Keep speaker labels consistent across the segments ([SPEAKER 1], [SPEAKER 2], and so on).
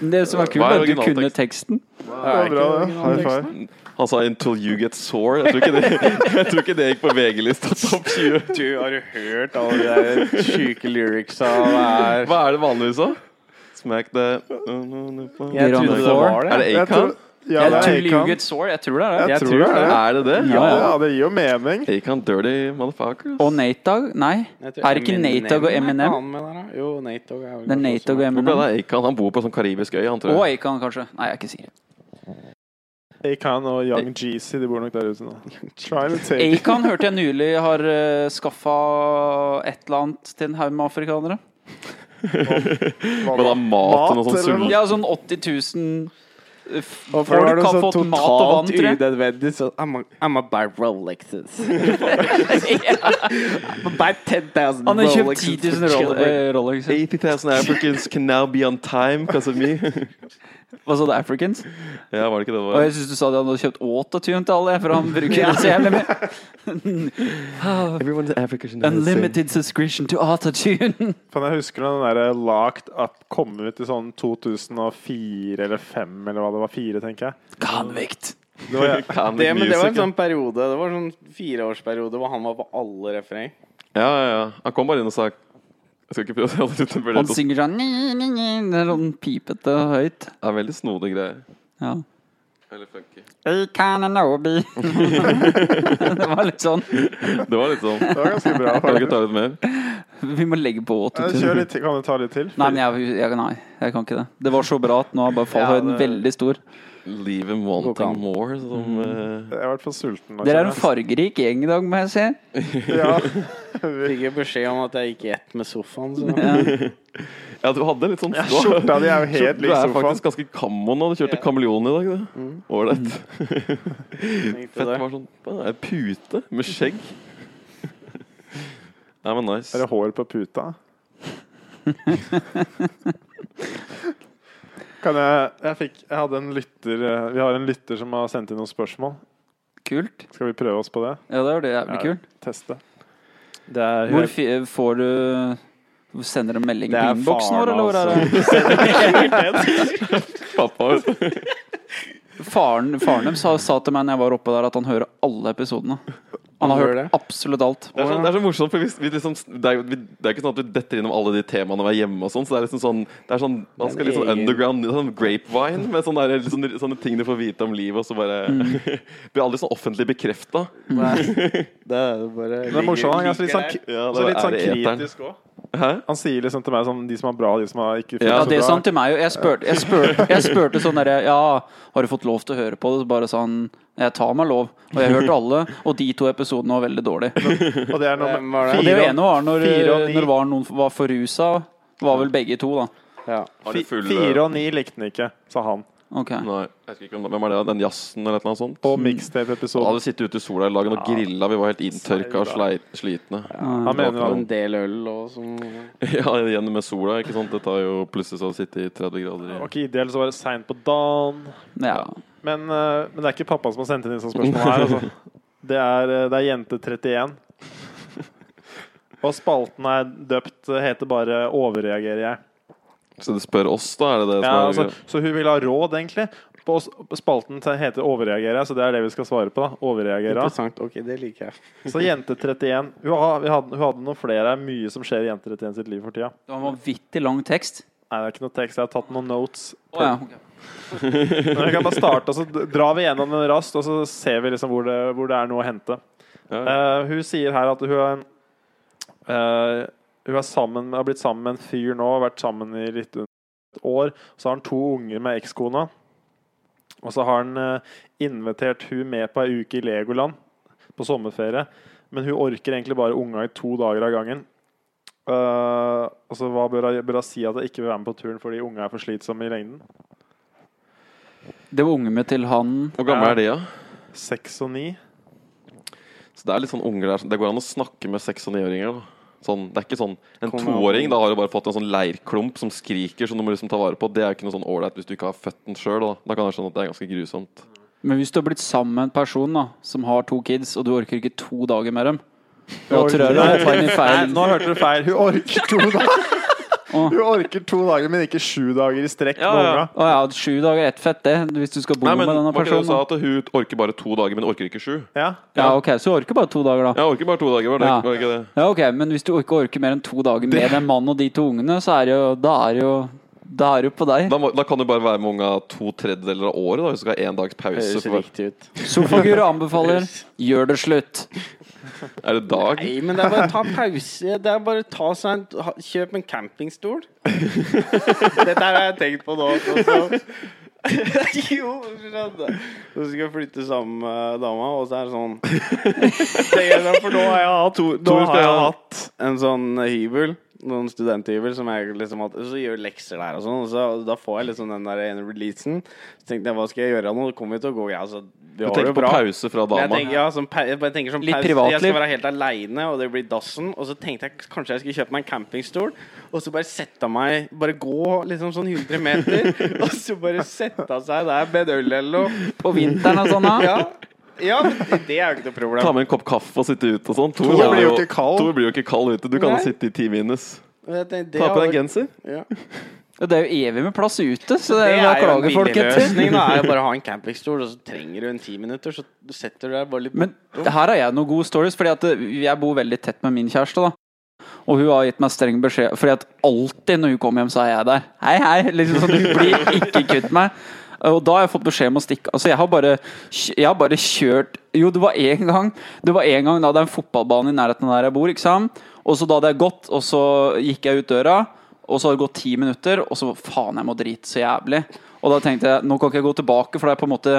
[SPEAKER 1] Det som var kult,
[SPEAKER 2] Hva er
[SPEAKER 1] var at du
[SPEAKER 2] originalteksten?
[SPEAKER 1] kunne teksten.
[SPEAKER 3] Det var bra, det. High five.
[SPEAKER 2] Han sa 'until you get sore'. Jeg tror ikke det, jeg tror ikke det gikk på VG-lista topp 20.
[SPEAKER 4] Du, har du hørt alle de der syke lyricsa? Hva er
[SPEAKER 2] Hva er det vanligvis, da? Smack the
[SPEAKER 4] Jeg
[SPEAKER 1] Get
[SPEAKER 4] trodde
[SPEAKER 1] on the
[SPEAKER 4] det
[SPEAKER 1] floor.
[SPEAKER 4] var
[SPEAKER 2] Er
[SPEAKER 4] det.
[SPEAKER 2] det
[SPEAKER 3] Jeg tror,
[SPEAKER 2] Acon?
[SPEAKER 3] ja,
[SPEAKER 1] Jeg
[SPEAKER 3] det
[SPEAKER 1] tror
[SPEAKER 3] er
[SPEAKER 1] you
[SPEAKER 3] Acon.
[SPEAKER 1] get sore. Jeg tror det er det.
[SPEAKER 3] Jeg
[SPEAKER 4] tror
[SPEAKER 3] tror det.
[SPEAKER 4] det.
[SPEAKER 3] er det.
[SPEAKER 2] Er det det?
[SPEAKER 1] Ja, ja.
[SPEAKER 3] Ja, det gir jo mening.
[SPEAKER 2] Acon dirty motherfuckers.
[SPEAKER 1] Og Nate Dogg? Nei.
[SPEAKER 4] Jeg tror
[SPEAKER 1] Er det ikke
[SPEAKER 4] Eminem
[SPEAKER 1] Nate Dogg og
[SPEAKER 4] er ikke
[SPEAKER 1] Eminem?
[SPEAKER 4] han med der, da? Jo, Nate Dogg er vel
[SPEAKER 1] Det er
[SPEAKER 4] kanskje
[SPEAKER 1] Nate
[SPEAKER 4] også sånn.
[SPEAKER 1] Dogg og
[SPEAKER 4] med.
[SPEAKER 2] Hvor ble det
[SPEAKER 1] Eminem.
[SPEAKER 2] av Acon? Han bor på sånn karibisk øy, han
[SPEAKER 1] Og
[SPEAKER 2] tror jeg.
[SPEAKER 1] Acon, kanskje. Nei, jeg er ikke sikker.
[SPEAKER 3] Acon og Young Jeezy, de bor nok der ute nå. Trying to take
[SPEAKER 1] Acon hørte jeg nylig har uh, skaffa et eller annet til en haug med afrikanere.
[SPEAKER 3] Hva
[SPEAKER 2] Men
[SPEAKER 3] da?
[SPEAKER 2] da mat og noe
[SPEAKER 3] Mat,
[SPEAKER 2] sånn
[SPEAKER 3] eller
[SPEAKER 2] sull.
[SPEAKER 1] Ja, sånn 80 000 eh, f-
[SPEAKER 4] Og
[SPEAKER 1] folk
[SPEAKER 4] for det
[SPEAKER 1] har
[SPEAKER 4] så
[SPEAKER 1] fått mat og vann,
[SPEAKER 4] totalt
[SPEAKER 1] tror jeg.
[SPEAKER 4] unødvendig, så I'm a- I'm a buy Rolexes. I'm a buy 10,000
[SPEAKER 1] Han har kjøpt
[SPEAKER 4] Rolexes
[SPEAKER 1] 10
[SPEAKER 4] for
[SPEAKER 1] 000 Rolex-
[SPEAKER 4] children.
[SPEAKER 1] eh, Rolex.
[SPEAKER 2] 80,000 Africans can now be on time because of me.
[SPEAKER 1] Hva sa du, Africans?
[SPEAKER 2] Ja, var det ikke det det
[SPEAKER 1] Og
[SPEAKER 2] var?
[SPEAKER 1] jeg syns du sa de hadde kjøpt Autotune til alle, for han bruker det så jævlig mye.
[SPEAKER 2] Everyone's African.
[SPEAKER 1] Unlimited subscription to Autotune.
[SPEAKER 3] Faen, jeg husker da den der eh, Locked Up kom ut i sånn 2004 eller 2005, eller hva det var. Fire, tenker jeg.
[SPEAKER 1] Convict.
[SPEAKER 3] Det var,
[SPEAKER 2] Det,
[SPEAKER 4] Det, men det var en sånn periode Det var sånn fireårsperiode hvor han var på alle refreng.
[SPEAKER 2] Ja, ja, ja. Han kom bare inn og sa Jeg skal ikke prøve å si alt utenfor
[SPEAKER 1] Han
[SPEAKER 2] det.
[SPEAKER 1] synger sånn ni, ni, ni, Det er sånn pipete og høyt.
[SPEAKER 2] Det er veldig snodig greier.
[SPEAKER 1] Ja.
[SPEAKER 2] Veldig funky.
[SPEAKER 1] Economy. det var litt sånn
[SPEAKER 2] Det var litt sånn.
[SPEAKER 3] det var ganske bra.
[SPEAKER 2] Kan du ikke
[SPEAKER 3] faktisk.
[SPEAKER 2] ta litt mer?
[SPEAKER 1] Vi må legge på
[SPEAKER 3] Eh,
[SPEAKER 1] autotune.
[SPEAKER 3] Kjør litt til. Kan du ta litt til?
[SPEAKER 1] Nei, men jeg, jeg, nei, jeg kan ikke det. Det var så bra at nå er bare fallhøyden
[SPEAKER 3] Ja, det-
[SPEAKER 1] veldig stor.
[SPEAKER 2] Leave him wanting more, som eh,
[SPEAKER 3] Jeg er i hvert fall sulten. nå,
[SPEAKER 1] Dere er en
[SPEAKER 3] kjenner
[SPEAKER 1] fargerik gjeng i dag, må jeg si.
[SPEAKER 3] jeg. Ja.
[SPEAKER 4] Fikk jeg beskjed om at jeg gikk i ett med sofaen. Så.
[SPEAKER 2] Ja, du hadde litt sånn
[SPEAKER 3] Skjorta di er jo helt liksom
[SPEAKER 2] Du
[SPEAKER 3] lik
[SPEAKER 2] er
[SPEAKER 3] sofaen.
[SPEAKER 2] faktisk ganske kammo nå. Du kjørte kameleon i dag, du. Ålreit. Mm. Fett
[SPEAKER 4] det.
[SPEAKER 2] var sånn det er pute med skjegg. Nei, men nice.
[SPEAKER 3] Er det hår på puta? Kan jeg jeg, fikk, jeg hadde en lytter eh, Vi har en lytter som har sendt inn noen spørsmål.
[SPEAKER 1] Kult.
[SPEAKER 3] Skal vi prøve oss på det?
[SPEAKER 1] Ja, det var det jævlig
[SPEAKER 3] Ja.
[SPEAKER 1] kult.
[SPEAKER 3] Teste. Det er,
[SPEAKER 1] Hvor fi, eh, får du Sender du melding
[SPEAKER 3] Det
[SPEAKER 1] på
[SPEAKER 3] er
[SPEAKER 1] innboksen vår,
[SPEAKER 3] faren,
[SPEAKER 1] eller hvor er det?
[SPEAKER 2] Pappa
[SPEAKER 3] altså.
[SPEAKER 1] Faren, faren deres sa- sa til meg når jeg var oppe der, at han hører alle episodene. Han har
[SPEAKER 4] hører
[SPEAKER 1] hørt absolutt alt.
[SPEAKER 2] Det er, sånn, det er så morsomt, for vi, vi liksom, det, er, jo- vi, det er ikke sånn at vi detter innom alle de temaene vi er hjemme og sånn, så det er liksom sånn, det er sånn man skal litt sånn
[SPEAKER 4] egen-
[SPEAKER 2] underground, sånn grapevine, med sånne, der, sånne, sånne ting du får vite om livet, og så bare blir aldri sånn offentlig bekreftet.
[SPEAKER 1] Mm.
[SPEAKER 4] Det er bare
[SPEAKER 3] det er morsomt. Han er ganske litt sånn, k-
[SPEAKER 2] Ja, det
[SPEAKER 3] så litt
[SPEAKER 2] er
[SPEAKER 3] sånn
[SPEAKER 2] det eteren.
[SPEAKER 3] kritisk òg.
[SPEAKER 2] Hæ?
[SPEAKER 3] Han sier liksom til meg sånn De som er bra, de som er ikke
[SPEAKER 2] Ja,
[SPEAKER 1] Ja,
[SPEAKER 3] så
[SPEAKER 1] det
[SPEAKER 3] bra.
[SPEAKER 1] sa han til meg jo. Jeg spurte, jeg spurte, jeg spurte sånn derre Ja, har du fått lov til å høre på det? Så bare sa han Jeg tar meg lov. Og jeg hørte alle. Og de to episodene var veldig dårlige.
[SPEAKER 3] Og det er noe
[SPEAKER 4] Hvem var
[SPEAKER 3] med
[SPEAKER 4] det?
[SPEAKER 1] Og det
[SPEAKER 3] fire,
[SPEAKER 1] ene var når, eh,
[SPEAKER 3] fire og ni.
[SPEAKER 1] når var noen var forrusa. Var vel begge to, da.
[SPEAKER 4] Ja.
[SPEAKER 2] Har
[SPEAKER 3] fi-
[SPEAKER 2] du full...
[SPEAKER 3] fire og ni likte han ikke, sa han.
[SPEAKER 1] Ok.
[SPEAKER 2] Nei, jeg husker ikke om det, hvem er det, den jassen eller et eller annet sånt?
[SPEAKER 3] På
[SPEAKER 2] Da
[SPEAKER 3] mixtape-episoden.
[SPEAKER 2] hadde vi sittet ute i sola i lagen og grilla, vi var helt inntørka og slei, slitne.
[SPEAKER 3] Han mener
[SPEAKER 2] Ja.
[SPEAKER 4] Og
[SPEAKER 3] han
[SPEAKER 4] en del øl og sånn.
[SPEAKER 2] Ja, igjen med sola, ikke sant? Det tar jo plutselig så å sitte i 30 grader i...
[SPEAKER 3] var ikke ideell, så var det seint på dagen.
[SPEAKER 1] Ja.
[SPEAKER 3] Men, eh, men det er ikke pappa som har sendt inn disse spørsmålene her. Altså. Det, er, eh, det er jente 31. Og spalten er døpt eh, heter bare 'Overreagerer jeg'.
[SPEAKER 2] Så du spør oss da, er det det som
[SPEAKER 3] Ja,
[SPEAKER 2] er...
[SPEAKER 3] altså, så hun vil ha råd, egentlig. På oss- spalten te- heter 'Overreagerer jeg', så det er det vi skal svare på. da Overreagerer jeg.
[SPEAKER 4] Interessant. Ok, det liker jeg.
[SPEAKER 3] Så jente 31 Hun, har, vi hadde, hun hadde noen flere. Det er mye som skjer i jente 31 sitt liv for tida.
[SPEAKER 1] Det var en vanvittig lang tekst.
[SPEAKER 3] Nei, det er ikke noe tekst. Jeg har tatt noen notes.
[SPEAKER 1] Å, ja. ok.
[SPEAKER 3] Men vi kan bare starte, og så d- drar vi gjennom den raskt, og så ser vi liksom hvor det, hvor det er noe å hente.
[SPEAKER 2] Ja, ja.
[SPEAKER 3] Eh, hun sier her at hun er, eh, hun er sammen, har blitt sammen med en fyr nå, har vært sammen i litt under et år. Så har han to unger med ekskona. Og så har han eh, invitert hun med på ei uke i Legoland på sommerferie. Men hun orker egentlig bare unga i to dager av gangen. Eh, og så hva bør hun bør hun si at hun ikke vil være med på turen fordi unga er for slitsomme i lengden?
[SPEAKER 1] Det var ungene til han
[SPEAKER 2] Hvor gamle er de, da?
[SPEAKER 3] Seks og ni.
[SPEAKER 2] Så det er litt sånn unger der Det går an å snakke med seks- og niåringer. da. Sånn, det er ikke sånn En
[SPEAKER 4] Kom an.
[SPEAKER 2] toåring da har jo bare fått en sånn leirklump som skriker, som du må liksom ta vare på. Det er jo ikke noe sånn ålreit hvis du ikke har født den sjøl. Da. da kan jeg skjønne at det er ganske grusomt.
[SPEAKER 1] Men hvis du har blitt sammen med en person da som har to kids, og du orker ikke to dager med dem Da
[SPEAKER 3] orker-
[SPEAKER 1] tror jeg du
[SPEAKER 3] Nei,
[SPEAKER 1] tar den i
[SPEAKER 3] Nei,
[SPEAKER 1] feil.
[SPEAKER 3] nå hørte du feil. Hun orker to dager.
[SPEAKER 1] Å.
[SPEAKER 3] Hun orker to dager, men ikke sju dager i strekk
[SPEAKER 2] Ja,
[SPEAKER 3] med
[SPEAKER 2] ja.
[SPEAKER 3] unga.
[SPEAKER 1] Å ja, sju dager er ett fett, det. Hvis du skal bo
[SPEAKER 2] Nei, men
[SPEAKER 1] med denne
[SPEAKER 2] var ikke det
[SPEAKER 1] personen.
[SPEAKER 2] du sa
[SPEAKER 1] da.
[SPEAKER 2] at hun orker bare to dager, men orker ikke sju?
[SPEAKER 3] Ja.
[SPEAKER 1] Ja, ok, Så du orker bare to dager, da.
[SPEAKER 2] Jeg orker bare to dager, var det,
[SPEAKER 1] Ja.
[SPEAKER 2] var det ikke det?
[SPEAKER 1] Ja, ok, Men hvis du ikke orker mer enn to dager med den mannen og de to ungene, så er det jo Da er det jo, da er det jo på deg.
[SPEAKER 2] Da, må, da kan du bare være med unga to tredjedeler av året, da, hvis du skal ha én dags pause.
[SPEAKER 4] Høres
[SPEAKER 2] For,
[SPEAKER 4] riktig ut.
[SPEAKER 1] Sofagur anbefaler gjør det slutt.
[SPEAKER 2] er det dag?
[SPEAKER 4] Nei, men det er bare å ta pause. Det er bare å ta seg en ha- Kjøp en campingstol. Dette her har jeg tenkt på nå. også, så- jo, skjønner Du skal flytte sammen med dama, og så er det sånn Tenker jeg sånn, For nå har jeg hatt, to,
[SPEAKER 3] Nå
[SPEAKER 4] nå
[SPEAKER 3] har jeg hatt
[SPEAKER 4] en sånn hybel. Noen studenthybel som jeg liksom hatt Så gjør jeg lekser der og sånn. Og så, da får jeg liksom den der ene releasen. Så tenkte jeg hva skal jeg gjøre nå? Det kommer jo til å gå greit. Altså, vi
[SPEAKER 2] Du
[SPEAKER 4] har det
[SPEAKER 2] tenker
[SPEAKER 4] jo
[SPEAKER 2] på
[SPEAKER 4] bra.
[SPEAKER 2] pause fra
[SPEAKER 4] Men Jeg
[SPEAKER 2] dama.
[SPEAKER 4] tenker, ja, som, pa- jeg bare tenker som
[SPEAKER 1] Litt
[SPEAKER 4] pause,
[SPEAKER 1] privatliv.
[SPEAKER 4] Jeg skal være helt aleine, og det blir dassen. Og så tenkte jeg kanskje jeg skulle kjøpe meg en campingstol, og så bare sette meg Bare gå liksom sånn 100 meter, og så bare sette seg der med en øl eller noe.
[SPEAKER 1] På vinteren og sånn, da.
[SPEAKER 4] Ja, ja, det er jo ikke noe
[SPEAKER 2] Ta
[SPEAKER 4] problem.
[SPEAKER 2] med en kopp kaffe og sitte ute og sånn. Tor,
[SPEAKER 3] Tor
[SPEAKER 2] er
[SPEAKER 3] blir jo ikke kald.
[SPEAKER 2] Tor blir jo ikke kald ute. Du kan
[SPEAKER 4] Nei.
[SPEAKER 2] jo sitte i ti minus.
[SPEAKER 4] Jeg tenkte, det
[SPEAKER 2] Ta på
[SPEAKER 4] har-
[SPEAKER 2] deg en genser.
[SPEAKER 4] ja.
[SPEAKER 1] Og det er jo evig med plass ute, så det
[SPEAKER 4] Det
[SPEAKER 1] er jo
[SPEAKER 4] er
[SPEAKER 1] bare
[SPEAKER 4] jo
[SPEAKER 1] å
[SPEAKER 4] en
[SPEAKER 1] klage folk
[SPEAKER 4] billig
[SPEAKER 1] etter.
[SPEAKER 4] løsning. Da er jo bare å ha en campingstol, og så trenger du en ti minutter, så setter du deg bare litt
[SPEAKER 1] Men her har jeg noen gode stories, fordi at eh, jeg bor veldig tett med min kjæreste. da Og hun har gitt meg streng beskjed, fordi at alltid når hun kommer hjem, så er jeg der. Hei, hei! Liksom sånn, du blir ikke kvitt meg. Og da har jeg fått beskjed om å stikke. Altså, jeg har bare, jeg har bare kjørt Jo, det var én gang. Det var en gang da det er en fotballbane i nærheten av der jeg bor, ikke sant. Og så da hadde jeg gått, og så gikk jeg ut døra, og så hadde det gått ti minutter, og så faen, jeg må drite så jævlig. Og da tenkte jeg nå kan ikke jeg gå tilbake, for det er på en måte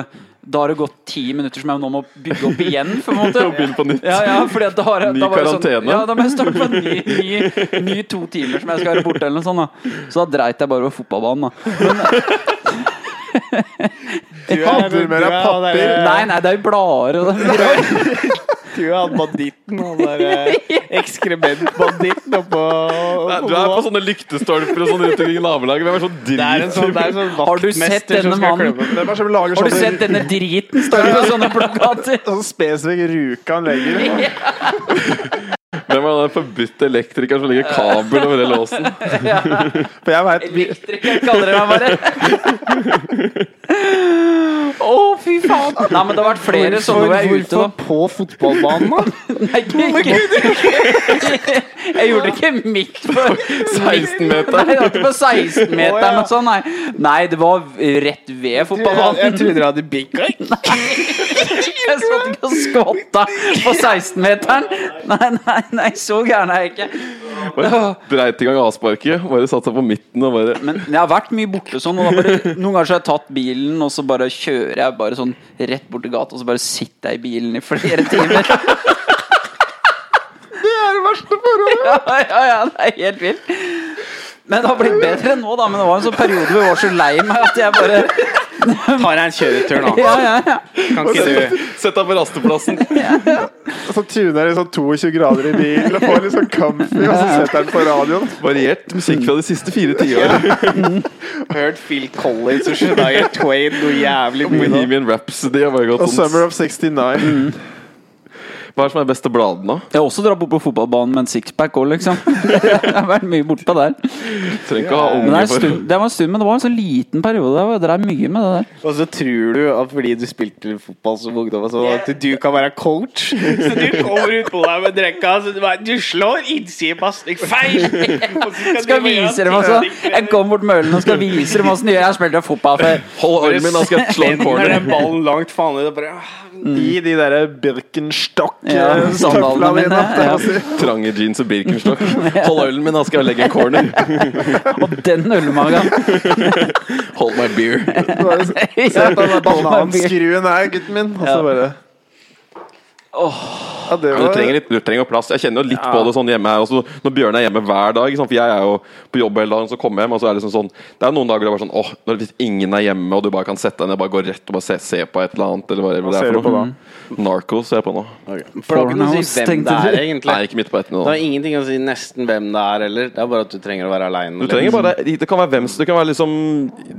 [SPEAKER 1] Da har det gått ti minutter som jeg nå må bygge opp igjen, på en måte.
[SPEAKER 2] Og begynne på nytt.
[SPEAKER 1] Ja, ja, fordi at da har jeg,
[SPEAKER 2] Ny
[SPEAKER 1] da var det
[SPEAKER 2] karantene.
[SPEAKER 1] Sånn, ja, da må jeg starte på en ny, ny, ny to timer som jeg skal være borte, eller noe sånt. da Så da dreit jeg bare over fotballbanen, da.
[SPEAKER 4] Du er-
[SPEAKER 3] Hadde du med
[SPEAKER 4] du
[SPEAKER 3] deg
[SPEAKER 4] er-
[SPEAKER 3] papir?
[SPEAKER 4] det er- eh,
[SPEAKER 1] Nei, nei, det er jo blader og sånn. det.
[SPEAKER 4] Du er han banditten, han derre ekskrementbanditten eh, oppå
[SPEAKER 2] Nei, du er på sånne lyktestolper og sånn rundt omkring i nabolaget. Hvem er sånn
[SPEAKER 4] Det er en sånn, det er en
[SPEAKER 2] dritype?
[SPEAKER 4] sånn
[SPEAKER 1] Har du sett
[SPEAKER 4] vaktmester som
[SPEAKER 1] denne
[SPEAKER 4] skal
[SPEAKER 1] mannen?
[SPEAKER 4] klemme.
[SPEAKER 3] Hvem er det som lager
[SPEAKER 1] Har du
[SPEAKER 3] sånne-
[SPEAKER 1] sett denne driten? Står det på sånne plakater?
[SPEAKER 3] Sånn spesifikk ruke han legger.
[SPEAKER 2] Hvem er den forbudte elektrikeren som legger kabel over hele låsen?
[SPEAKER 3] For jeg vet, vi,
[SPEAKER 1] Elektriker kaller de meg bare. Å, fy faen! Nei, men det har vært flere sånne hvor jeg er ute, da.
[SPEAKER 4] på fotballbanen, da?
[SPEAKER 1] Nei, ikke, ikke. Jeg gjorde det ikke midt på
[SPEAKER 2] 16 meter.
[SPEAKER 1] Nei, det var ikke på 16 meter,
[SPEAKER 4] Å, ja.
[SPEAKER 1] men sånn, nei. nei, det var rett ved
[SPEAKER 4] Jeg
[SPEAKER 1] fotballbanen.
[SPEAKER 4] trodde du hadde bikka.
[SPEAKER 1] Jeg satt ikke og skvatta på 16-meteren. Nei, nei, nei, så gæren er jeg ikke.
[SPEAKER 2] Bare Dreit i gang avsparket, bare satt seg på midten og bare
[SPEAKER 1] Men jeg har vært mye borte sånn. Og da bare, noen ganger så har jeg tatt bilen, og så bare kjører jeg bare sånn rett bort til gata, og så bare sitter jeg i bilen i flere timer. Det er det verste forholdet! Ja, ja, ja, det er helt vilt. Men det har blitt bedre nå, da. Men det var en sånn periode hvor jeg var så lei meg at jeg bare
[SPEAKER 4] Tar jeg en kjøretur nå?
[SPEAKER 1] Ja, ja, ja.
[SPEAKER 4] Kan ikke du
[SPEAKER 2] Sett deg på rasteplassen.
[SPEAKER 3] så tuner jeg liksom 22 grader i bilen og får litt sånn comfy, og så setter jeg den på radioen.
[SPEAKER 2] Variert musikk fra de siste fire tiårene.
[SPEAKER 4] hørt Phil Collins og Shania Twain noe jævlig mye nå?
[SPEAKER 2] Bohemian Rhapsody har bare
[SPEAKER 3] Og
[SPEAKER 2] gått sånn.
[SPEAKER 3] Summer of 69.
[SPEAKER 2] Hva er det som er beste bladene? da?
[SPEAKER 1] Jeg har også dratt bort på fotballbanen med en sixpack òg, liksom. Jeg har vært mye bortpå der.
[SPEAKER 2] Trenger ikke å ha
[SPEAKER 1] Men det, er
[SPEAKER 2] unge
[SPEAKER 1] en
[SPEAKER 2] for
[SPEAKER 1] stund, det var en stund, men det var en sånn liten periode der hvor jeg drev mye med det der.
[SPEAKER 4] Og så tror du at fordi du spilte fotball som ungdom, og sånn, at du kan være coach. Så du kommer utpå deg med drekka, så du, bare, du slår innsiden pasning feil! Og så du
[SPEAKER 1] skal
[SPEAKER 4] bare-
[SPEAKER 1] vise dem altså. Jeg kommer bort med ølen og skal vise dem åssen jeg har spilt fotball før.
[SPEAKER 2] Hold armen min, da skal jeg slå en
[SPEAKER 4] Når
[SPEAKER 2] corner.
[SPEAKER 4] den ballen langt faen det er bare "Ah,
[SPEAKER 3] I de eh, derre
[SPEAKER 1] Ja,
[SPEAKER 3] Birkenstock-tøfla
[SPEAKER 1] sandalene
[SPEAKER 3] mine.
[SPEAKER 1] mine, ja.
[SPEAKER 2] Trange jeans og Birkenstock. Hold ølen min, da skal jeg legge en corner.
[SPEAKER 1] Og den ølmagen.
[SPEAKER 2] Hold my beer.
[SPEAKER 3] Bare Se på den bananskruen her, gutten min. Og så bare Ja, det
[SPEAKER 2] Ja,
[SPEAKER 3] var,
[SPEAKER 2] du trenger litt du trenger jo plass. Jeg kjenner jo litt på det sånn hjemme her også, når Bjørn er hjemme hver dag. ikke sant? For jeg er jo på jobb hele dagen, så kommer jeg hjem, og så er det liksom sånn Det er noen dager det er bare sånn åh, når hvis ingen er hjemme, og du bare kan sette deg ned og bare gå rett og bare se, se på et eller annet, eller hva
[SPEAKER 3] Hva
[SPEAKER 2] det er
[SPEAKER 3] ser du
[SPEAKER 2] for
[SPEAKER 3] på
[SPEAKER 2] noe.
[SPEAKER 3] da?
[SPEAKER 2] Narcos ser jeg på nå.
[SPEAKER 4] For det har ikke noe å si
[SPEAKER 1] Pornos,
[SPEAKER 4] hvem det
[SPEAKER 1] tenkte
[SPEAKER 4] er,
[SPEAKER 1] du?
[SPEAKER 4] egentlig.
[SPEAKER 2] Nei, ikke midt på ett nå.
[SPEAKER 4] Det har ingenting å si nesten hvem det er heller. Det er bare at du trenger å være aleine. liksom.
[SPEAKER 2] Du trenger bare, det kan være hvem som Det kan være liksom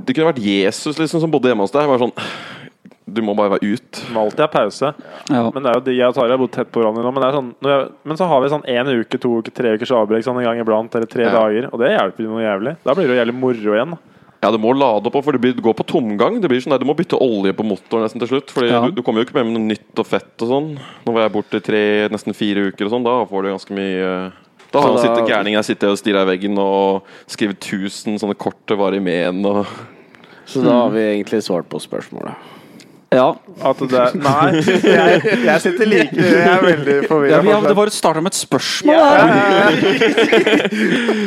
[SPEAKER 2] Det kunne vært Jesus liksom som bodde hjemme hos deg. Bare sånn Du må bare være ut.
[SPEAKER 3] Må alltid ha pause.
[SPEAKER 1] Ja.
[SPEAKER 3] Men det er jo de jeg og Tari har bodd tett på hverandre nå. Men, det er sånn, når jeg, men så har vi sånn én uke, to uker, tre ukers avbrekk sånn en gang iblant. Eller tre
[SPEAKER 2] Ja.
[SPEAKER 3] dager. Og det hjelper jo noe jævlig. Da blir det jo jævlig moro igjen.
[SPEAKER 2] Ja, du må lade opp, for du blir- du går på tomgang. Det blir sånn der, Du må bytte olje på motoren nesten til slutt. Fordi
[SPEAKER 1] Ja.
[SPEAKER 2] du, du kommer jo ikke med med noe nytt og fett og sånn. Nå var jeg borte i tre, nesten fire uker og sånn. Da får du ganske mye eh, Da har
[SPEAKER 1] Så da-
[SPEAKER 2] sitter gærningen her sitter og stirrer i veggen og skriver 1000 sånne kort til varig men og
[SPEAKER 4] Så da har vi egentlig svart på spørsmålet.
[SPEAKER 1] ja.
[SPEAKER 3] At det er, nei, jeg, jeg sitter like Jeg er veldig
[SPEAKER 1] ja
[SPEAKER 3] forvirra.
[SPEAKER 1] vi, det var starta med et spørsmål her.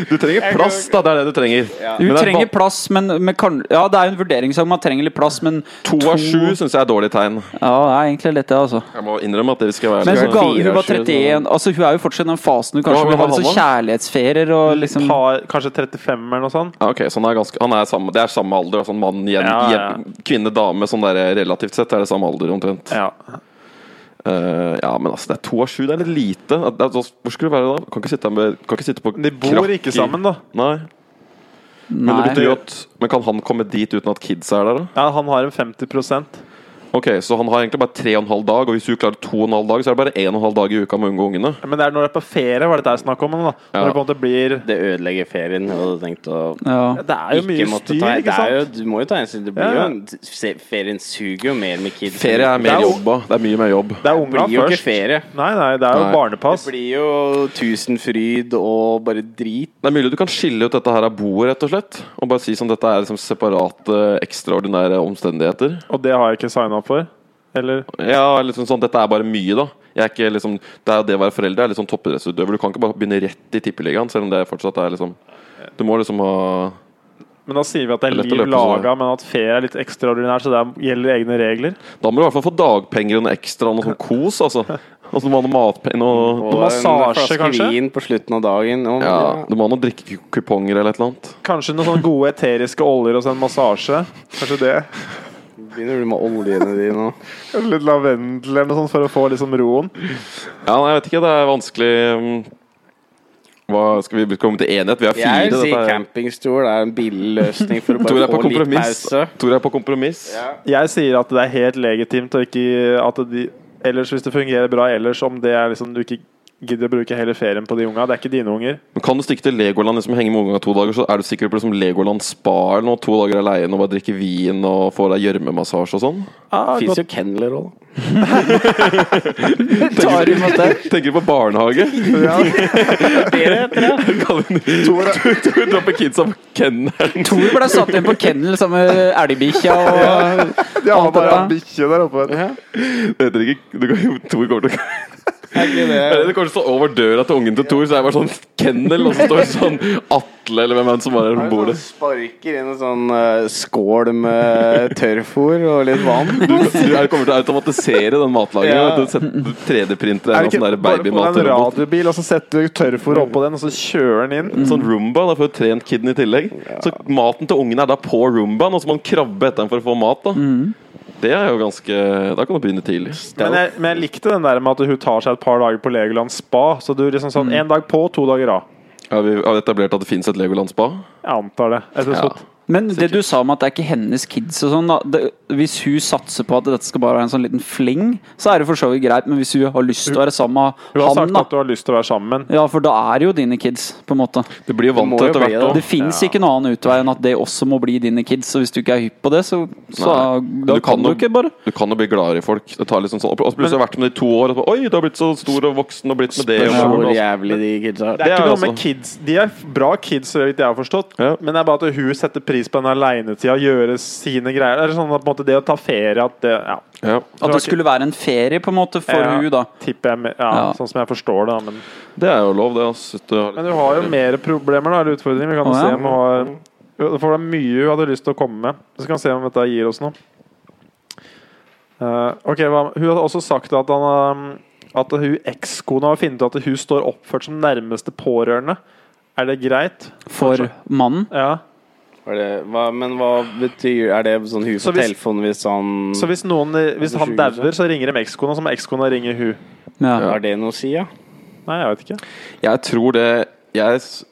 [SPEAKER 2] Du trenger plass, da! Det er det du trenger.
[SPEAKER 1] Du
[SPEAKER 2] Men det er
[SPEAKER 1] trenger
[SPEAKER 2] ba-
[SPEAKER 1] plass, men, men kan, Ja, det er jo en vurderingssak. Man trenger litt plass, men
[SPEAKER 2] To av sju syns jeg er dårlig tegn.
[SPEAKER 1] Ja, det er egentlig litt det, altså.
[SPEAKER 2] Jeg må innrømme at dere skal være
[SPEAKER 1] Men
[SPEAKER 2] litt
[SPEAKER 1] hun, ga,
[SPEAKER 2] sånn-
[SPEAKER 1] hun var 31 Altså Hun er jo fortsatt i den fasen hun kanskje
[SPEAKER 2] Ja,
[SPEAKER 1] vil ha
[SPEAKER 2] men
[SPEAKER 1] litt sånn
[SPEAKER 2] han
[SPEAKER 1] kjærlighetsferier og liksom
[SPEAKER 3] Par, kanskje 35 eller noe sånt.
[SPEAKER 2] Ja, ok, så han er ganske, han er samme, Det er samme alder. Altså mann, jen,
[SPEAKER 3] Ja, ja.
[SPEAKER 2] jen, kvinne, dame. Sånn der, relativt sett er det samme alder omtrent.
[SPEAKER 3] Ja.
[SPEAKER 2] Eh, ja, men altså, det er to av sju. Det er litt lite. At- at- altså, Hvor skulle du være da? Kan ikke sitte, med, kan ikke sitte på
[SPEAKER 3] De bor
[SPEAKER 2] krakk i-
[SPEAKER 3] ikke sammen, da.
[SPEAKER 2] Nei. Men, det betyr
[SPEAKER 1] Nei.
[SPEAKER 2] jo at, men kan han komme dit uten at kids er der, da?
[SPEAKER 3] Ja, han har en 50
[SPEAKER 2] Ok, Så han har egentlig bare tre og en halv dag, og hvis hun klarer to og en halv dag, så er det bare en og en halv dag i uka med å unngå ungene.
[SPEAKER 3] Men det er når det er på ferie, var det der snakk om? Da. Når
[SPEAKER 2] Ja.
[SPEAKER 3] det på en måte blir
[SPEAKER 4] Det ødelegger ferien. Jeg hadde tenkt å
[SPEAKER 1] Ja.
[SPEAKER 3] Det er jo mye
[SPEAKER 4] ikke måtte
[SPEAKER 3] styr,
[SPEAKER 4] ta det
[SPEAKER 3] ikke
[SPEAKER 4] er jo,
[SPEAKER 3] sant?
[SPEAKER 4] Du må jo ta hensyn. Det blir
[SPEAKER 3] Ja,
[SPEAKER 4] jo
[SPEAKER 3] ja.
[SPEAKER 4] en, se- ferien suger jo mer med kids.
[SPEAKER 2] Ferie er
[SPEAKER 3] Det
[SPEAKER 2] mer
[SPEAKER 3] er jo-
[SPEAKER 2] jobb, da. Det er mye mer jobb.
[SPEAKER 3] Det er
[SPEAKER 4] Det
[SPEAKER 3] unga
[SPEAKER 4] blir jo ikke
[SPEAKER 3] først.
[SPEAKER 4] ferie.
[SPEAKER 3] Nei, nei, det er jo
[SPEAKER 2] Nei.
[SPEAKER 4] Det
[SPEAKER 3] barnepass.
[SPEAKER 4] blir jo Tusenfryd og bare drit.
[SPEAKER 2] Det er mulig du kan skille ut dette her av boet, rett og slett. Og bare si som dette er liksom separate, ekstraordinære omstendigheter.
[SPEAKER 3] Og det har jeg ikke signa opp for. Eller
[SPEAKER 2] Ja, liksom sånn, dette er bare mye, da. Jeg er ikke liksom, det er jo det å være forelder er litt sånn toppidrettsutøver. Du kan ikke bare begynne rett i tippeligaen, selv om det fortsatt er liksom Du må liksom ha
[SPEAKER 3] Men da sier vi at det er
[SPEAKER 2] Det er lett å
[SPEAKER 3] liv
[SPEAKER 2] løpe, så-
[SPEAKER 3] laga, men at ferie er litt ekstraordinær, så det er- gjelder egne regler.
[SPEAKER 2] Da må du i hvert fall få dagpenger og noe ekstra og noe sånn kos, altså. Altså, du må ha noe matpenger og
[SPEAKER 4] Og
[SPEAKER 3] massasje,
[SPEAKER 4] en flaske
[SPEAKER 3] kanskje?
[SPEAKER 4] vin på slutten av dagen. Og,
[SPEAKER 2] ja, Du må ha noen drikkekuponger eller et eller annet.
[SPEAKER 3] Kanskje noen sånne gode eteriske oljer og så en massasje. Kanskje det.
[SPEAKER 4] Begynner du med oljene dine og
[SPEAKER 3] Kanskje litt lavendel eller noe sånt for å få liksom roen.
[SPEAKER 2] Ja, nei, jeg vet ikke. Det er vanskelig mm, hva, Skal vi komme til enighet? Vi er fire.
[SPEAKER 4] Jeg vil si
[SPEAKER 2] dette er-
[SPEAKER 4] campingstol er en billig løsning for å
[SPEAKER 2] Tor er
[SPEAKER 4] bare
[SPEAKER 2] på
[SPEAKER 4] få litt
[SPEAKER 2] kompromiss.
[SPEAKER 4] pause.
[SPEAKER 2] Tor er på kompromiss.
[SPEAKER 3] Jeg sier at det er helt legitimt og ikke at de Ellers, hvis det fungerer bra ellers, om det er liksom du ikke gidder å bruke hele ferien på de unga. Det er ikke dine unger.
[SPEAKER 2] Men kan du stikke til Legoland liksom, henge med ungene to dager, så er du sikkert på liksom, Legoland spa eller noe, to dager aleine og bare drikke vin og få deg gjørmemassasje og sånn?
[SPEAKER 3] Ah,
[SPEAKER 4] Fins
[SPEAKER 3] godt.
[SPEAKER 4] jo kenneler òg.
[SPEAKER 1] Tar du imot det?
[SPEAKER 2] Tenker du på barnehage? Kan du Tor dropper kidsa på kennelen.
[SPEAKER 1] Thor ble satt inn på kennel sammen med elgbikkja og
[SPEAKER 3] De har
[SPEAKER 1] alt
[SPEAKER 3] bare
[SPEAKER 1] dette.
[SPEAKER 3] en bikkje der oppe.
[SPEAKER 2] Det heter ikke du kan, Tor kommer til å
[SPEAKER 4] Er ikke det
[SPEAKER 2] Det kommer til å stå over døra til ungen til Tor, så er det bare sånn kennel, og så står det sånn Atle eller hvem er det som er der på bordet.
[SPEAKER 4] Sparker inn en sånn eh, skål med tørrfôr og litt vann.
[SPEAKER 2] Du, du er- kommer til å automatisere den
[SPEAKER 4] Ja.
[SPEAKER 2] matlagingen. Ja. 3D-printer
[SPEAKER 3] Er
[SPEAKER 2] eller noe
[SPEAKER 3] det
[SPEAKER 2] sånn der
[SPEAKER 3] ikke bare på en
[SPEAKER 2] babymatrobot.
[SPEAKER 3] radiobil, og så setter du tørrfôr oppå den, og så kjører den inn?
[SPEAKER 2] En sånn Roomba, da får du trent kiden i tillegg. Så maten til ungen er da på Roombaen, og så må han krabbe etter den for å få mat. da Det er jo ganske Da kan du begynne tidlig.
[SPEAKER 3] Men jeg, men jeg likte den der med at hun tar seg et par dager på Legoland spa. Så du liksom sånn én dag på, to dager av.
[SPEAKER 2] Har vi har vi etablert at det fins et Legoland spa? Sånn.
[SPEAKER 3] Jeg antar det. Jeg synes
[SPEAKER 2] Ja.
[SPEAKER 3] at-
[SPEAKER 1] Men det du sa om at det er ikke hennes kids og sånn, da. Det, hvis hun satser på at dette skal bare være en sånn liten fling, så er det for så vidt greit. Men hvis hun har lyst til å være sammen
[SPEAKER 3] Hun
[SPEAKER 1] med
[SPEAKER 3] har
[SPEAKER 1] han,
[SPEAKER 3] sagt
[SPEAKER 1] da
[SPEAKER 3] at du har lyst til å være sammen.
[SPEAKER 1] Ja, for da er det jo dine kids, på en måte.
[SPEAKER 2] Du blir jo vant
[SPEAKER 4] må
[SPEAKER 2] til
[SPEAKER 4] jo
[SPEAKER 2] etter
[SPEAKER 4] bli
[SPEAKER 2] hvert.
[SPEAKER 4] det,
[SPEAKER 1] Det
[SPEAKER 2] også.
[SPEAKER 1] fins
[SPEAKER 3] Ja.
[SPEAKER 1] ikke noe annen utvei enn at det også må bli dine kids. Så hvis du ikke er hypp på det, så, så
[SPEAKER 2] Nei.
[SPEAKER 1] da
[SPEAKER 2] Du kan
[SPEAKER 1] kan du
[SPEAKER 2] jo-
[SPEAKER 1] ikke bare
[SPEAKER 2] Du kan jo bli gladere i folk. Det tar liksom sånn Og plutselig har jeg vært med det i to år. Og så, bare, Oi, du har blitt så stor og voksen og blitt med det. Og
[SPEAKER 4] Ja,
[SPEAKER 2] sånn,
[SPEAKER 4] hvor
[SPEAKER 2] og sånn.
[SPEAKER 4] jævlig de kidsa
[SPEAKER 3] Det
[SPEAKER 4] er.
[SPEAKER 3] er
[SPEAKER 2] Det
[SPEAKER 3] ikke
[SPEAKER 2] er
[SPEAKER 3] noe
[SPEAKER 2] altså-
[SPEAKER 3] med kids. De er bra kids, så vidt jeg har forstått.
[SPEAKER 2] Ja.
[SPEAKER 3] Men det er bare at hun setter pris på den aleinetida, gjøre sine greier. Det er sånn at på en måte, det å ta ferie at det, ja,
[SPEAKER 2] Ja.
[SPEAKER 1] At det skulle være en ferie, på en måte, for
[SPEAKER 3] Ja.
[SPEAKER 1] hun, da.
[SPEAKER 3] tipper jeg med, ja,
[SPEAKER 1] Ja.
[SPEAKER 3] Sånn som jeg forstår det. da, Men,
[SPEAKER 2] Det er jo lov, det. ass. At du har litt-
[SPEAKER 3] men hun har jo mer problemer da, eller utfordringer. Vi kan jo
[SPEAKER 1] Å, ja.
[SPEAKER 3] se om hun har For det er mye hun hadde lyst til å komme med. Så kan vi se om dette gir oss noe. Eh, ok, hva, Hun har også sagt at han, um, at hun ekskona har funnet ut at hun står oppført som nærmeste pårørende. Er det greit?
[SPEAKER 1] for mannen.
[SPEAKER 3] Ja.
[SPEAKER 4] Er det, hva, men hva betyr Er det sånn hun
[SPEAKER 3] Så
[SPEAKER 4] på
[SPEAKER 3] hvis-
[SPEAKER 4] telefonen hvis han
[SPEAKER 3] Så hvis, noen, eh, hvis han
[SPEAKER 4] sjukehuset?
[SPEAKER 3] dauer, så ringer de ekskona, så må ekskona ringe hun.
[SPEAKER 1] Ja.
[SPEAKER 4] Har det noe å si, ja?
[SPEAKER 3] Nei, jeg vet ikke.
[SPEAKER 2] Jeg tror det Jeg s-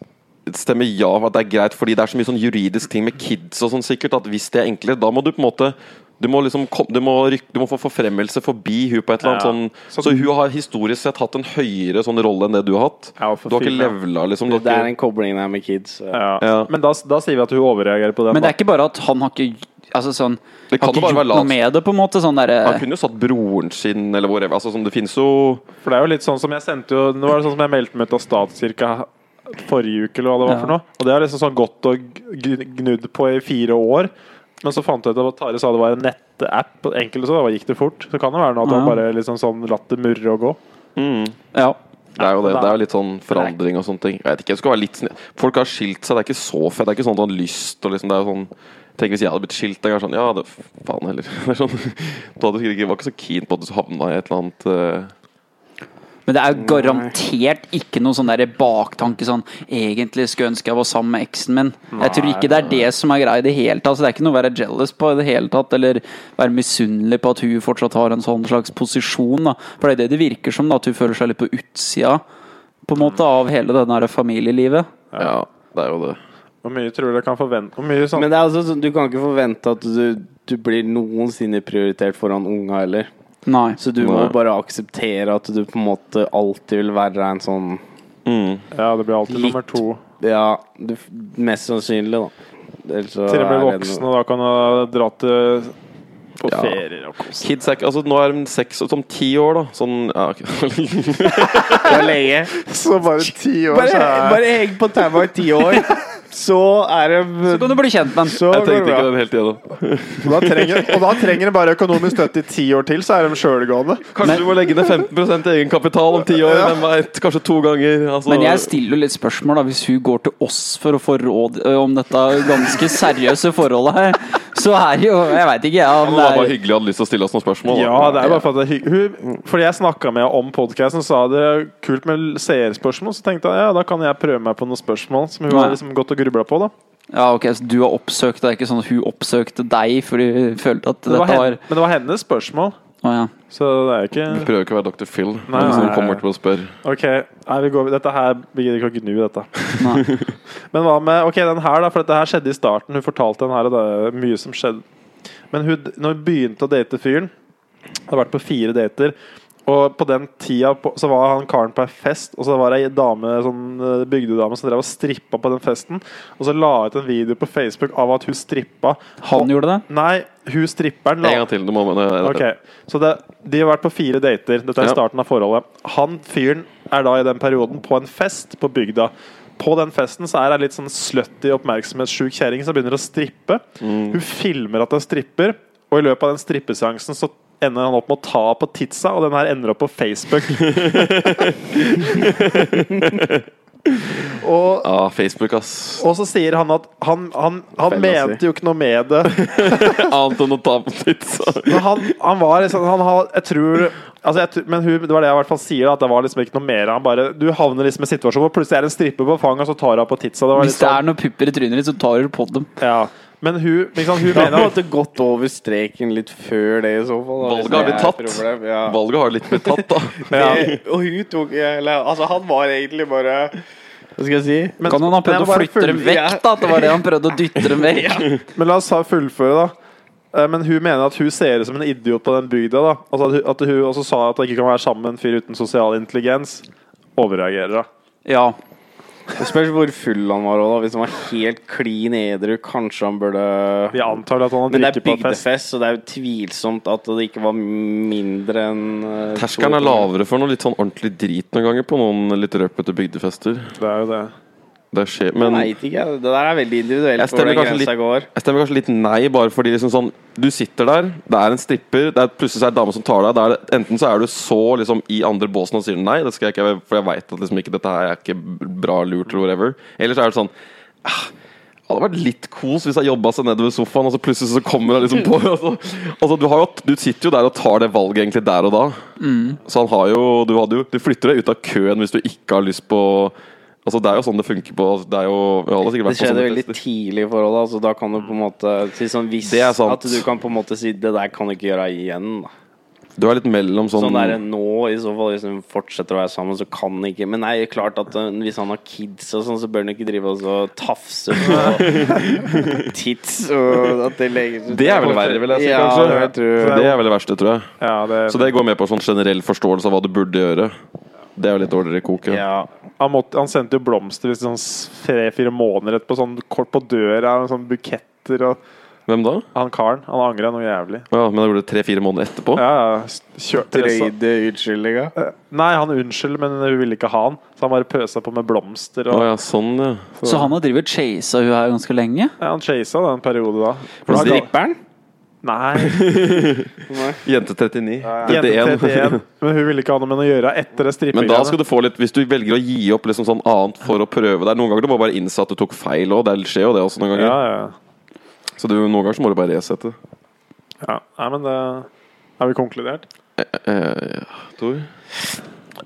[SPEAKER 2] stemmer ja for at det er greit, fordi det er så mye sånn juridisk ting med kids og sånn sikkert, at hvis det er enklere, da må du på en måte du må, liksom kom, du, må ryk, du må få forfremmelse forbi hun på et eller annet
[SPEAKER 3] Ja.
[SPEAKER 2] sånn Så hun har historisk sett hatt en høyere sånn rolle enn det du har hatt.
[SPEAKER 3] Ja, for
[SPEAKER 2] Du har ikke
[SPEAKER 3] fy, ja.
[SPEAKER 2] levela, liksom. Du har
[SPEAKER 4] Det, det er
[SPEAKER 2] ikke,
[SPEAKER 4] en kobling der med kids. så-
[SPEAKER 3] Ja.
[SPEAKER 2] Ja.
[SPEAKER 3] Men da, da sier vi at hun overreagerer på den.
[SPEAKER 1] Men det
[SPEAKER 3] da.
[SPEAKER 1] er ikke bare at han har ikke Altså sånn
[SPEAKER 2] Det
[SPEAKER 1] Har
[SPEAKER 2] kan jo
[SPEAKER 1] ikke
[SPEAKER 2] bare
[SPEAKER 1] gjort
[SPEAKER 2] være
[SPEAKER 1] noe
[SPEAKER 2] lavt.
[SPEAKER 1] med det, på en måte.
[SPEAKER 2] Han
[SPEAKER 1] Sånn derre
[SPEAKER 2] kunne jo satt broren sin, eller whatever. Altså, sånn, det finnes jo
[SPEAKER 3] For det er jo litt sånn som jeg sendte jo Nå var det sånn som jeg meldte meg ut av statskirka forrige uke, eller hva det var
[SPEAKER 1] Ja.
[SPEAKER 3] for noe. Og det har liksom sånn gått og gn- gnudd på i fire år. Men så fant jeg ut at Tare sa det var en nettapp. og Enkelte så da gikk det fort. Så kan det være noe at
[SPEAKER 1] Ja.
[SPEAKER 3] han bare liksom sånn latt det murre og gå.
[SPEAKER 1] Ja.
[SPEAKER 2] Det er jo det.
[SPEAKER 3] Ja,
[SPEAKER 2] Det er jo litt sånn forandring og sånne ting. Jeg vet ikke, det skal være litt snill. Folk har skilt seg, det er ikke så fett. Det er ikke sånn at han har lyst og liksom, det er jo sånn Tenk hvis jeg hadde blitt skilt en gang sånn Ja, det faen heller. Det er sånn, du hadde sikkert ikke, var ikke så keen på at du havna i et eller annet eh,
[SPEAKER 1] Men det er jo garantert ikke noen sånn der baktanke sånn Egentlig skulle jeg ønske jeg var sammen med eksen min. Jeg tror ikke det er det som er greia i det hele tatt. Så det er ikke noe å være jealous på i det hele tatt, eller være misunnelig på at hun fortsatt har en sånn slags posisjon. Da. For det er det det virker som, da, at hun føler seg litt på utsida på en måte av hele det der familielivet.
[SPEAKER 2] Ja, det er jo det.
[SPEAKER 3] Hvor mye tror du det kan forvente Hvor mye sånn
[SPEAKER 4] Men det er altså sånn, du kan ikke forvente at du, du blir noensinne prioritert foran unga heller.
[SPEAKER 1] Nei.
[SPEAKER 4] Så du må
[SPEAKER 2] Nei.
[SPEAKER 4] bare akseptere at du på en måte alltid vil være en sånn
[SPEAKER 3] Ja, det blir alltid
[SPEAKER 4] Litt.
[SPEAKER 3] nummer to.
[SPEAKER 4] Ja, du, mest sannsynlig, da. Ellers så
[SPEAKER 3] Til og med
[SPEAKER 4] er det
[SPEAKER 3] voksen,
[SPEAKER 4] noe-
[SPEAKER 3] og da kan han dra til på
[SPEAKER 2] Ja.
[SPEAKER 3] ferier og kose
[SPEAKER 2] Kids er ikke Altså, nå er de seks og som ti år, da. Sånn ja, ok.
[SPEAKER 4] Det er lenge.
[SPEAKER 3] Så bare ti år,
[SPEAKER 4] Bare, bare heng på taua i ti år, så er det
[SPEAKER 1] Så kan du bli kjent med den.
[SPEAKER 4] Så
[SPEAKER 2] Jeg
[SPEAKER 4] går det
[SPEAKER 2] tenkte ikke
[SPEAKER 4] bra.
[SPEAKER 2] den helt igjennom.
[SPEAKER 3] Og da trenger, og da trenger de bare økonomisk støtte i ti år til, så er de sjølgående.
[SPEAKER 2] Kanskje du må legge ned 15 egenkapital om ti år. Hvem vet? Kanskje to ganger. Altså,
[SPEAKER 1] Men jeg stiller jo litt spørsmål da hvis hun går til oss for å få råd ø, om dette ganske seriøse forholdet her. Så er jo Jeg veit ikke, jeg.
[SPEAKER 2] Ja, men
[SPEAKER 1] Om
[SPEAKER 2] det var bare
[SPEAKER 1] det er
[SPEAKER 2] hyggelig at du hadde lyst til å stille oss noen spørsmål. da.
[SPEAKER 3] Ja, det er bare for at det er hygg- hun, Fordi jeg snakka med henne om podkasten, sa det er kult med seerspørsmål. Så tenkte jeg ja, da kan jeg prøve meg på noen spørsmål som hun har liksom gått og grubla på. da
[SPEAKER 1] Ja, ok, så du har oppsøkt Det er ikke sånn at hun oppsøkte deg fordi hun følte at
[SPEAKER 3] Men det, var
[SPEAKER 1] dette
[SPEAKER 3] hen,
[SPEAKER 1] var
[SPEAKER 3] men det var hennes spørsmål,
[SPEAKER 1] Å ja.
[SPEAKER 3] så det er ikke
[SPEAKER 2] Jeg Prøver ikke å være Dr. Phil.
[SPEAKER 3] Nei,
[SPEAKER 2] hvis noen
[SPEAKER 3] nei,
[SPEAKER 2] kommer
[SPEAKER 3] nei.
[SPEAKER 2] til å spørre.
[SPEAKER 3] Ok, nei, vi går, vid- dette her Vi gidder ikke å gnu dette.
[SPEAKER 1] Nei.
[SPEAKER 3] Men hva med ok, den her, da? For dette her skjedde i starten. Hun fortalte den her, og det er mye som skjedde. Men hun, når hun begynte å date fyren Det har vært på fire dater. Og på den tida på, så var han karen på ei fest, og så var det ei dame, sånn eh, bygdedame som drev og strippa på den festen. Og så la hun ut en video på Facebook av at hun strippa.
[SPEAKER 1] Han gjorde det?
[SPEAKER 3] Nei, hun stripperen
[SPEAKER 2] En
[SPEAKER 3] la
[SPEAKER 2] gang til. Du må, nei, nei, nei.
[SPEAKER 3] Ok, Så det, de har vært på fire dater. Dette er
[SPEAKER 2] Ja.
[SPEAKER 3] starten av forholdet. Han fyren er da i den perioden på en fest på bygda. På den festen så er det litt sånn slutty, oppmerksomhetssjuk kjerring som begynner å strippe.
[SPEAKER 4] Mm.
[SPEAKER 3] Hun filmer at hun stripper, og i løpet av den strippeseansen så ender han opp med å ta på titsa, og den her ender opp på Facebook. og
[SPEAKER 2] Ja, Ah, Facebook, ass.
[SPEAKER 3] og så sier han at han, han, han
[SPEAKER 4] Feil å si.
[SPEAKER 3] mente jo ikke noe med det.
[SPEAKER 2] Annet enn å ta på pizza.
[SPEAKER 3] Men han, han var liksom han har, Jeg tror altså jeg, tror- Men hun, det var det jeg i hvert fall sier, da, at det var liksom ikke noe mer. Han bare Du havner liksom i en situasjon hvor plutselig er det en stripper på fanget, og så tar hun på titsa. Det var litt
[SPEAKER 1] Hvis det er
[SPEAKER 3] sånn,
[SPEAKER 1] noen pupper i trynet ditt, så tar du på dem.
[SPEAKER 3] ja. Men hun, liksom, hun
[SPEAKER 4] Da har på en
[SPEAKER 3] mener
[SPEAKER 4] måte gått over streken litt før det, i så fall. da, hvis
[SPEAKER 2] Valget har blitt
[SPEAKER 4] det er
[SPEAKER 2] tatt.
[SPEAKER 4] et problem, Ja.
[SPEAKER 2] Valget har litt blitt tatt, da.
[SPEAKER 3] ja.
[SPEAKER 4] Det- Og hun tok eller, Altså, han var egentlig bare Hva skal jeg si?
[SPEAKER 3] Men-
[SPEAKER 1] Kan han ha
[SPEAKER 3] men
[SPEAKER 1] prøvd å
[SPEAKER 3] jeg må bare
[SPEAKER 1] flytte dem
[SPEAKER 4] full-
[SPEAKER 1] vekk,
[SPEAKER 4] Ja.
[SPEAKER 1] da? At det var det han prøvde å dytte dem vekk?
[SPEAKER 3] Men la oss ta fullføre, da. Eh, Men hun mener at hun ser ut som en idiot på den bygda. da Altså at hun, at hun også sa at hun ikke kan være sammen med en fyr uten sosial intelligens. Overreagerer, da.
[SPEAKER 1] Ja.
[SPEAKER 4] Det spørs hvor full han var også, da. Hvis han var helt klin edru, kanskje han burde
[SPEAKER 3] Vi antar at han har
[SPEAKER 4] Men det er
[SPEAKER 3] drukket på fest.
[SPEAKER 4] bygdefest, så det er jo tvilsomt at det ikke var mindre enn eh,
[SPEAKER 2] Terskelen
[SPEAKER 4] to-
[SPEAKER 2] er lavere for noe litt sånn ordentlig drit noen ganger på noen litt røpete bygdefester.
[SPEAKER 3] Det er jo det.
[SPEAKER 2] Det skjer, men
[SPEAKER 4] Nei, vet ikke. jeg. Det der er veldig
[SPEAKER 2] Jeg
[SPEAKER 4] individuelt hvor
[SPEAKER 2] stemmer
[SPEAKER 4] den
[SPEAKER 2] kanskje
[SPEAKER 4] grensa går.
[SPEAKER 2] jeg stemmer kanskje litt nei, bare fordi liksom sånn Du sitter der, det er en stripper, det er plutselig så er det en dame som tar deg. Det er, det- enten så er du så liksom i andre båsen og sier nei, det skal jeg ikke, for jeg veit at liksom ikke dette her er ikke bra lurt, eller whatever. Eller så er det sånn ah, Det hadde vært litt kos hvis jeg jobba seg ned ved sofaen, og så plutselig så kommer jeg liksom på altså, altså, du, har jo, du sitter jo der og tar det valget egentlig der og da. Så han har jo du, hadde jo du flytter deg ut av køen hvis du ikke har lyst på Altså Det er jo sånn det funker på Det, er jo, vi alle har sikkert vært
[SPEAKER 4] Det
[SPEAKER 2] på sånn
[SPEAKER 4] skjedde
[SPEAKER 2] sånne
[SPEAKER 4] veldig
[SPEAKER 2] fester.
[SPEAKER 4] tidlig i forholdet, altså da kan du på en måte si sånn hvis
[SPEAKER 2] Det er sant.
[SPEAKER 4] At du kan på en måte si 'det der kan du ikke gjøre igjen'. Da.
[SPEAKER 2] Du er litt mellom sånn,
[SPEAKER 4] Sånn der nå, i så fall, hvis hun fortsetter å være sammen, så kan han ikke Men nei, klart at øh, hvis han har kids og sånn, så bør han ikke drive og så tafse på tits og at det legger seg
[SPEAKER 2] Det er vel verre, vil jeg si,
[SPEAKER 4] ja,
[SPEAKER 2] kanskje.
[SPEAKER 4] jeg tror.
[SPEAKER 2] Det er vel det verste, tror jeg.
[SPEAKER 3] Ja, det,
[SPEAKER 2] Så det går med på sånn generell forståelse av hva du burde gjøre. Det er jo litt dårligere koke.
[SPEAKER 4] Ja.
[SPEAKER 3] han, måtte, han sendte jo blomster hvis sånn tre-fire måneder etterpå, sånn kort på døra, og sånn buketter og
[SPEAKER 2] Hvem da?
[SPEAKER 3] Han karen, han angra noe jævlig.
[SPEAKER 2] Ja, men da gjorde det tre-fire måneder etterpå?
[SPEAKER 3] Ja, ja, s- kjørte det, så- Eh,
[SPEAKER 4] Drøyde utskyldninga.
[SPEAKER 3] Nei, han unnskyld, men hun ville ikke ha han, så han bare pøsa på med blomster.
[SPEAKER 2] Å
[SPEAKER 3] Og,
[SPEAKER 2] ja, sånn, ja.
[SPEAKER 1] Så han har drevet og chasa hun her ganske lenge?
[SPEAKER 3] ja, han chasa da en periode da.
[SPEAKER 2] For
[SPEAKER 3] da
[SPEAKER 2] det-
[SPEAKER 4] Stripper'n?
[SPEAKER 3] Nei,
[SPEAKER 2] Jente 39.
[SPEAKER 3] jente
[SPEAKER 2] 31.
[SPEAKER 3] 31. Men hun ville ikke ha noe med det å gjøre etter det strippinga.
[SPEAKER 2] Men da skal du få litt Hvis du velger å gi opp liksom sånn annet for å prøve deg Noen ganger du må bare innse at du tok feil òg. Det skjer jo det også noen ganger.
[SPEAKER 3] ja, ja.
[SPEAKER 2] Så du, noen ganger så må du bare resette.
[SPEAKER 3] ja. Nei, men det Har vi konkludert?
[SPEAKER 2] Eh, Tor?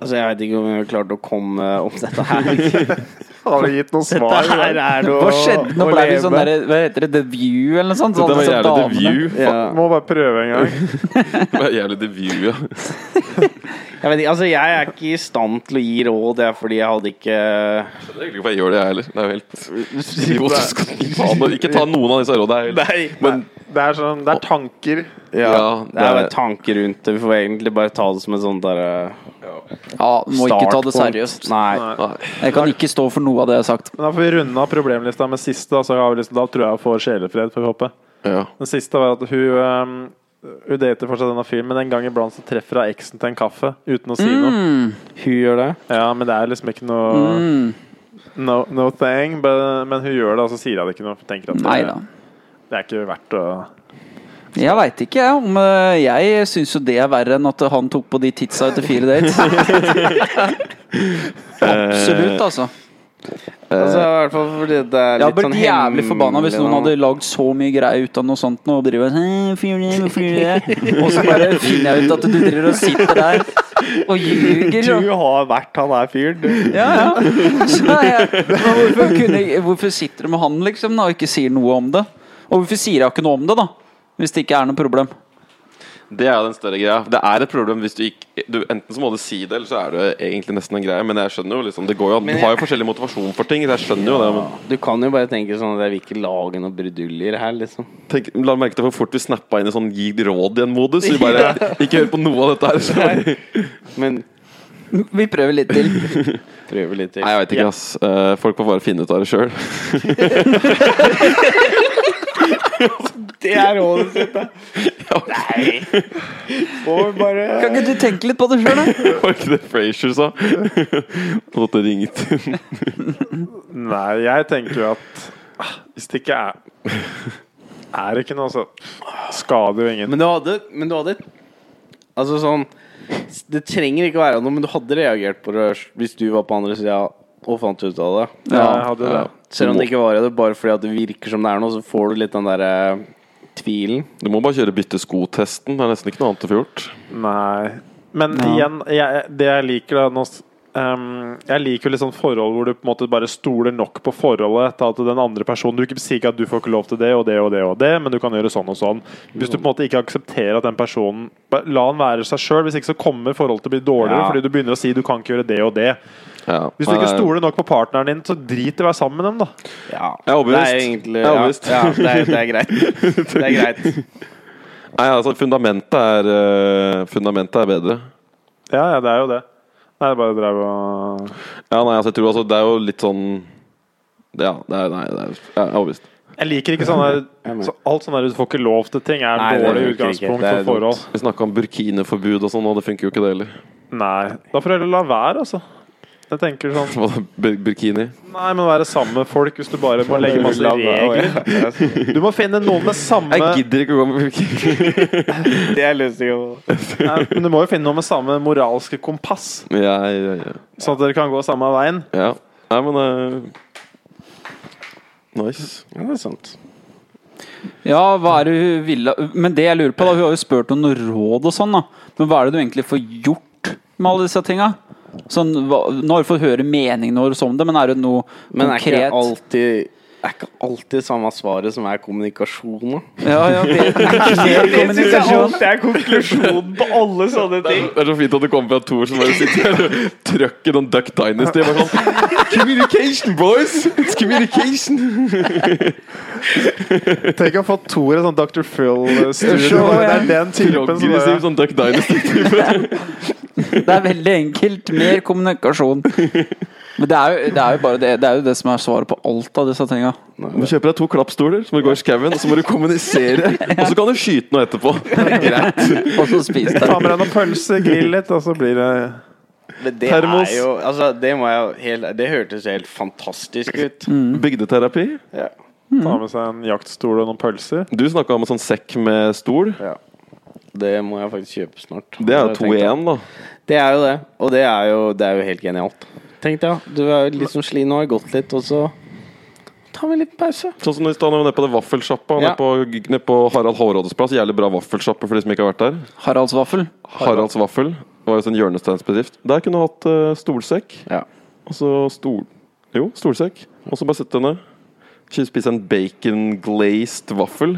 [SPEAKER 4] Altså, jeg veit ikke om jeg klarte å komme om dette her.
[SPEAKER 3] Har vi gitt noen svar?
[SPEAKER 4] Dette her er det å
[SPEAKER 1] Hva skjedde? Nå
[SPEAKER 4] å
[SPEAKER 1] ble vi
[SPEAKER 4] leve.
[SPEAKER 1] sånn der, hva heter det, The View eller noe sånt?
[SPEAKER 2] Dette var
[SPEAKER 1] Sånn
[SPEAKER 2] jævlig
[SPEAKER 1] som
[SPEAKER 2] The View.
[SPEAKER 4] ja.
[SPEAKER 3] Må bare prøve en gang.
[SPEAKER 2] Det var jævlig The View, ja.
[SPEAKER 4] Jeg vet ikke, altså jeg er ikke i stand til å gi råd, det er fordi jeg hadde ikke
[SPEAKER 2] Det er egentlig ikke hva jeg gjør det, jeg heller. Det er jo helt idiotisk. Faen, og Ikke ta noen av disse rådene. det er helt-
[SPEAKER 4] Nei,
[SPEAKER 2] Men
[SPEAKER 3] Det er, sånn, det er tanker.
[SPEAKER 2] ja,
[SPEAKER 4] det er bare
[SPEAKER 2] det er
[SPEAKER 4] tanker rundt det. Vi får egentlig bare ta det som en sånn derre
[SPEAKER 1] Ja, må ikke ta det seriøst.
[SPEAKER 4] Nei.
[SPEAKER 3] Nei.
[SPEAKER 2] Nei.
[SPEAKER 1] Jeg kan ikke stå for noe av det jeg har sagt.
[SPEAKER 3] Men da får vi runde av problemlista med siste. Da, så har vi liksom, da tror jeg jeg får sjelefred, får vi håpe.
[SPEAKER 2] Ja.
[SPEAKER 3] Den siste var at hun um, Hun dater fortsatt denne fyren, men en gang iblant så treffer hun eksen til en kaffe uten å si
[SPEAKER 4] Mm.
[SPEAKER 3] noe.
[SPEAKER 1] Mm.
[SPEAKER 4] Hun gjør det.
[SPEAKER 3] Ja, men det er liksom ikke noe
[SPEAKER 4] Mm.
[SPEAKER 3] no, no thing. But, men hun gjør det, og så sier hun det ikke noe. for hun Tenker at
[SPEAKER 1] Nei da.
[SPEAKER 3] det, det er ikke verdt å
[SPEAKER 1] Jeg veit ikke, jeg. Om, eh, jeg syns jo det er verre enn at han tok på de titsa etter fire dates. Absolutt, altså. Eh.
[SPEAKER 4] Altså, i hvert fall fordi det er
[SPEAKER 1] Jeg hadde
[SPEAKER 4] Eh, litt
[SPEAKER 1] blitt
[SPEAKER 4] sånn
[SPEAKER 1] jævlig forbanna hvis
[SPEAKER 4] hemmelig
[SPEAKER 1] noen
[SPEAKER 4] nå.
[SPEAKER 1] hadde lagd så mye greier ut av noe sånt nå, og driver og «Hæ, hvorfor gjør du det? Hvorfor gjør du det?» Og så bare finner jeg ut at du driver og sitter der og ljuger. og-
[SPEAKER 4] Du har vært han der fyren. du.
[SPEAKER 1] Ja, ja. Så jeg, men hvorfor, kunne, jeg- hvorfor sitter du med han liksom da, og ikke sier noe om det? Og hvorfor sier jeg ikke noe om det, da? Hvis det ikke er noe problem.
[SPEAKER 2] Det er jo den større greia. Det er et problem hvis du ikke du, Enten så må du si det, eller så er det egentlig nesten en greie. Men jeg skjønner jo liksom det går jo, an. Du
[SPEAKER 4] Men jeg-
[SPEAKER 2] har jo forskjellig motivasjon for ting. Så jeg skjønner jo det. Men
[SPEAKER 4] Du kan jo bare tenke sånn at jeg vil ikke lage noe bruduljer her, liksom.
[SPEAKER 2] tenk, la merke til hvor fort vi snappa inn i sånn gi råd i en modus. Vi bare Ikke hør på noe av dette her. Så. Nei,
[SPEAKER 4] Men
[SPEAKER 1] Vi prøver litt til.
[SPEAKER 4] prøve litt til.
[SPEAKER 2] jeg veit ikke, ass. Eh, Folk får bare finne ut av det sjøl.
[SPEAKER 4] Det er rådet sitt, da. Nei. Får bare
[SPEAKER 1] Kan ikke du tenke litt på det sjøl, da?
[SPEAKER 2] Var ikke det Frasier sa? Måtte ringe til
[SPEAKER 3] Nei, jeg tenker jo at ah, hvis det ikke er Er det ikke noe, så skader jo ingen.
[SPEAKER 4] Men du hadde, men du hadde Altså sånn Det trenger ikke å være noe, men du hadde reagert på det hvis du var på andre sida og fant ut av det.
[SPEAKER 3] ja,
[SPEAKER 1] Ja.
[SPEAKER 3] jeg hadde det.
[SPEAKER 4] Selv om det ikke var det, bare fordi at det virker som det er noe, så får du litt den derre tvilen.
[SPEAKER 2] Du må bare kjøre bytte sko-testen. Det er nesten ikke noe annet å få gjort.
[SPEAKER 3] Nei. Men igjen, jeg, det jeg liker da nå, s- ehm, Jeg liker jo litt sånn forhold hvor du på en måte bare stoler nok på forholdet til at den andre personen Du ikke sier ikke at du får ikke lov til det og det og det, og det men du kan gjøre sånn og sånn. Hvis du på en måte ikke aksepterer at den personen bare La han være seg sjøl, hvis ikke så kommer forholdet til å bli dårligere
[SPEAKER 4] Ja.
[SPEAKER 3] fordi du begynner å si du kan ikke gjøre det og det.
[SPEAKER 2] Ja.
[SPEAKER 3] Hvis du ikke
[SPEAKER 2] Nei.
[SPEAKER 3] stoler nok på partneren din, så drit i å være sammen med dem, da.
[SPEAKER 4] Ja.
[SPEAKER 2] Jeg er overbevist.
[SPEAKER 4] Det er egentlig,
[SPEAKER 2] Jeg er
[SPEAKER 4] ja,
[SPEAKER 2] overbevist.
[SPEAKER 4] ja, det, er, det er greit. Det er greit.
[SPEAKER 2] Nei, altså, fundamentet er, eh, fundamentet er bedre.
[SPEAKER 3] Ja, ja, det er jo det. Nei, jeg bare drev og
[SPEAKER 2] Ja, nei, altså, jeg tror altså, det er jo litt sånn Ja, det er, nei, det er, jeg er overbevist.
[SPEAKER 3] Jeg liker ikke sånn der så Alt sånn der du får ikke lov til ting, er
[SPEAKER 4] Nei,
[SPEAKER 3] et
[SPEAKER 4] det liker
[SPEAKER 3] dårlig
[SPEAKER 4] jeg ikke.
[SPEAKER 3] utgangspunkt
[SPEAKER 4] Det
[SPEAKER 3] for
[SPEAKER 4] er
[SPEAKER 3] forhold.
[SPEAKER 2] Vi snakka om burkineforbud og sånn, og det funker jo ikke, det heller.
[SPEAKER 3] Nei. Da får du heller la være, altså. Jeg tenker sånn
[SPEAKER 2] Hva da, bur- Burkini.
[SPEAKER 3] Nei, men være sammen med folk hvis du bare må legge masse
[SPEAKER 4] La-
[SPEAKER 3] regler. Du må finne noen med samme
[SPEAKER 2] Jeg
[SPEAKER 3] Nei,
[SPEAKER 2] gidder ikke å gå med burkini.
[SPEAKER 4] Det er løsninga.
[SPEAKER 3] Men du må jo finne noen med samme moralske kompass,
[SPEAKER 2] Ja, ja, ja.
[SPEAKER 3] sånn at dere kan gå samme veien.
[SPEAKER 2] ja. Nei, men eh, Nice.
[SPEAKER 4] Ja, det er sant.
[SPEAKER 1] Ja, hva er det hun ville Men det jeg lurer på, da, hun har jo spurt om noe råd og sånn, da. Men hva er det du egentlig får gjort med alle disse tinga? Sånn, hva, nå har du fått høre meningen vår om det, men er det noe
[SPEAKER 4] Men er ikke det
[SPEAKER 1] konkret?
[SPEAKER 4] alltid er ikke alltid samme svaret som er kommunikasjon, da?
[SPEAKER 1] Ja, ja, det, det er ikke det, kommunikasjon.
[SPEAKER 4] er konklusjonen på alle sånne ting.
[SPEAKER 2] Det er så fint at det kommer fra Thor som bare sitter her og trøkker noen Duck Dynasty. Bare sånn, communication, boys! It's communication!
[SPEAKER 3] Tenk å få Tor et sånt Dr. Phil-studio.
[SPEAKER 1] Show,
[SPEAKER 3] sånn Det
[SPEAKER 1] ja.
[SPEAKER 3] er den typen som
[SPEAKER 2] Progressiv
[SPEAKER 3] bare
[SPEAKER 2] sånn Duck Dynasty.
[SPEAKER 1] det er veldig enkelt. Mer kommunikasjon. Men det er jo det, er jo bare det, det, er jo det som er svaret på alt av disse tinga.
[SPEAKER 2] Du må kjøpe deg to klappstoler, så må du gå i skauen, og så må du kommunisere. Og så kan du skyte noe etterpå. Greit.
[SPEAKER 1] Og så spis det.
[SPEAKER 3] Ta med deg noen pølser, grill litt, og så blir det
[SPEAKER 4] Men det
[SPEAKER 2] Termos.
[SPEAKER 4] er jo Altså, det må jeg jo helt Det hørtes helt fantastisk ut.
[SPEAKER 2] Mm. Bygdeterapi.
[SPEAKER 4] Ja.
[SPEAKER 3] Ta med seg en jaktstol og noen pølser.
[SPEAKER 2] Du snakka om en sånn sekk med stol.
[SPEAKER 4] ja. Det må jeg faktisk kjøpe snart.
[SPEAKER 2] Det er
[SPEAKER 4] Har jeg
[SPEAKER 2] jo
[SPEAKER 4] tenkt da.
[SPEAKER 2] 2-1, da.
[SPEAKER 4] Det er jo det. Og det er jo, det er jo helt genialt. Tenkte jeg. Du er jo liksom sliten og har gått litt, og så tar vi en liten pause.
[SPEAKER 2] Sånn som når vi står nede på det vaffelsjappa nede,
[SPEAKER 4] Ja.
[SPEAKER 2] på, nede på Harald Hårrådes plass. Jævlig bra vaffelsjappe for de som ikke har vært der.
[SPEAKER 1] Haralds vaffel.
[SPEAKER 2] Haralds Vaffel var jo en hjørnesteinsbedrift. Der kunne du hatt eh, stolsekk.
[SPEAKER 4] Ja.
[SPEAKER 2] Og så stol... Jo, stolsekk. Og så bare sette deg ned. Ikke Spise en bacon glazed vaffel.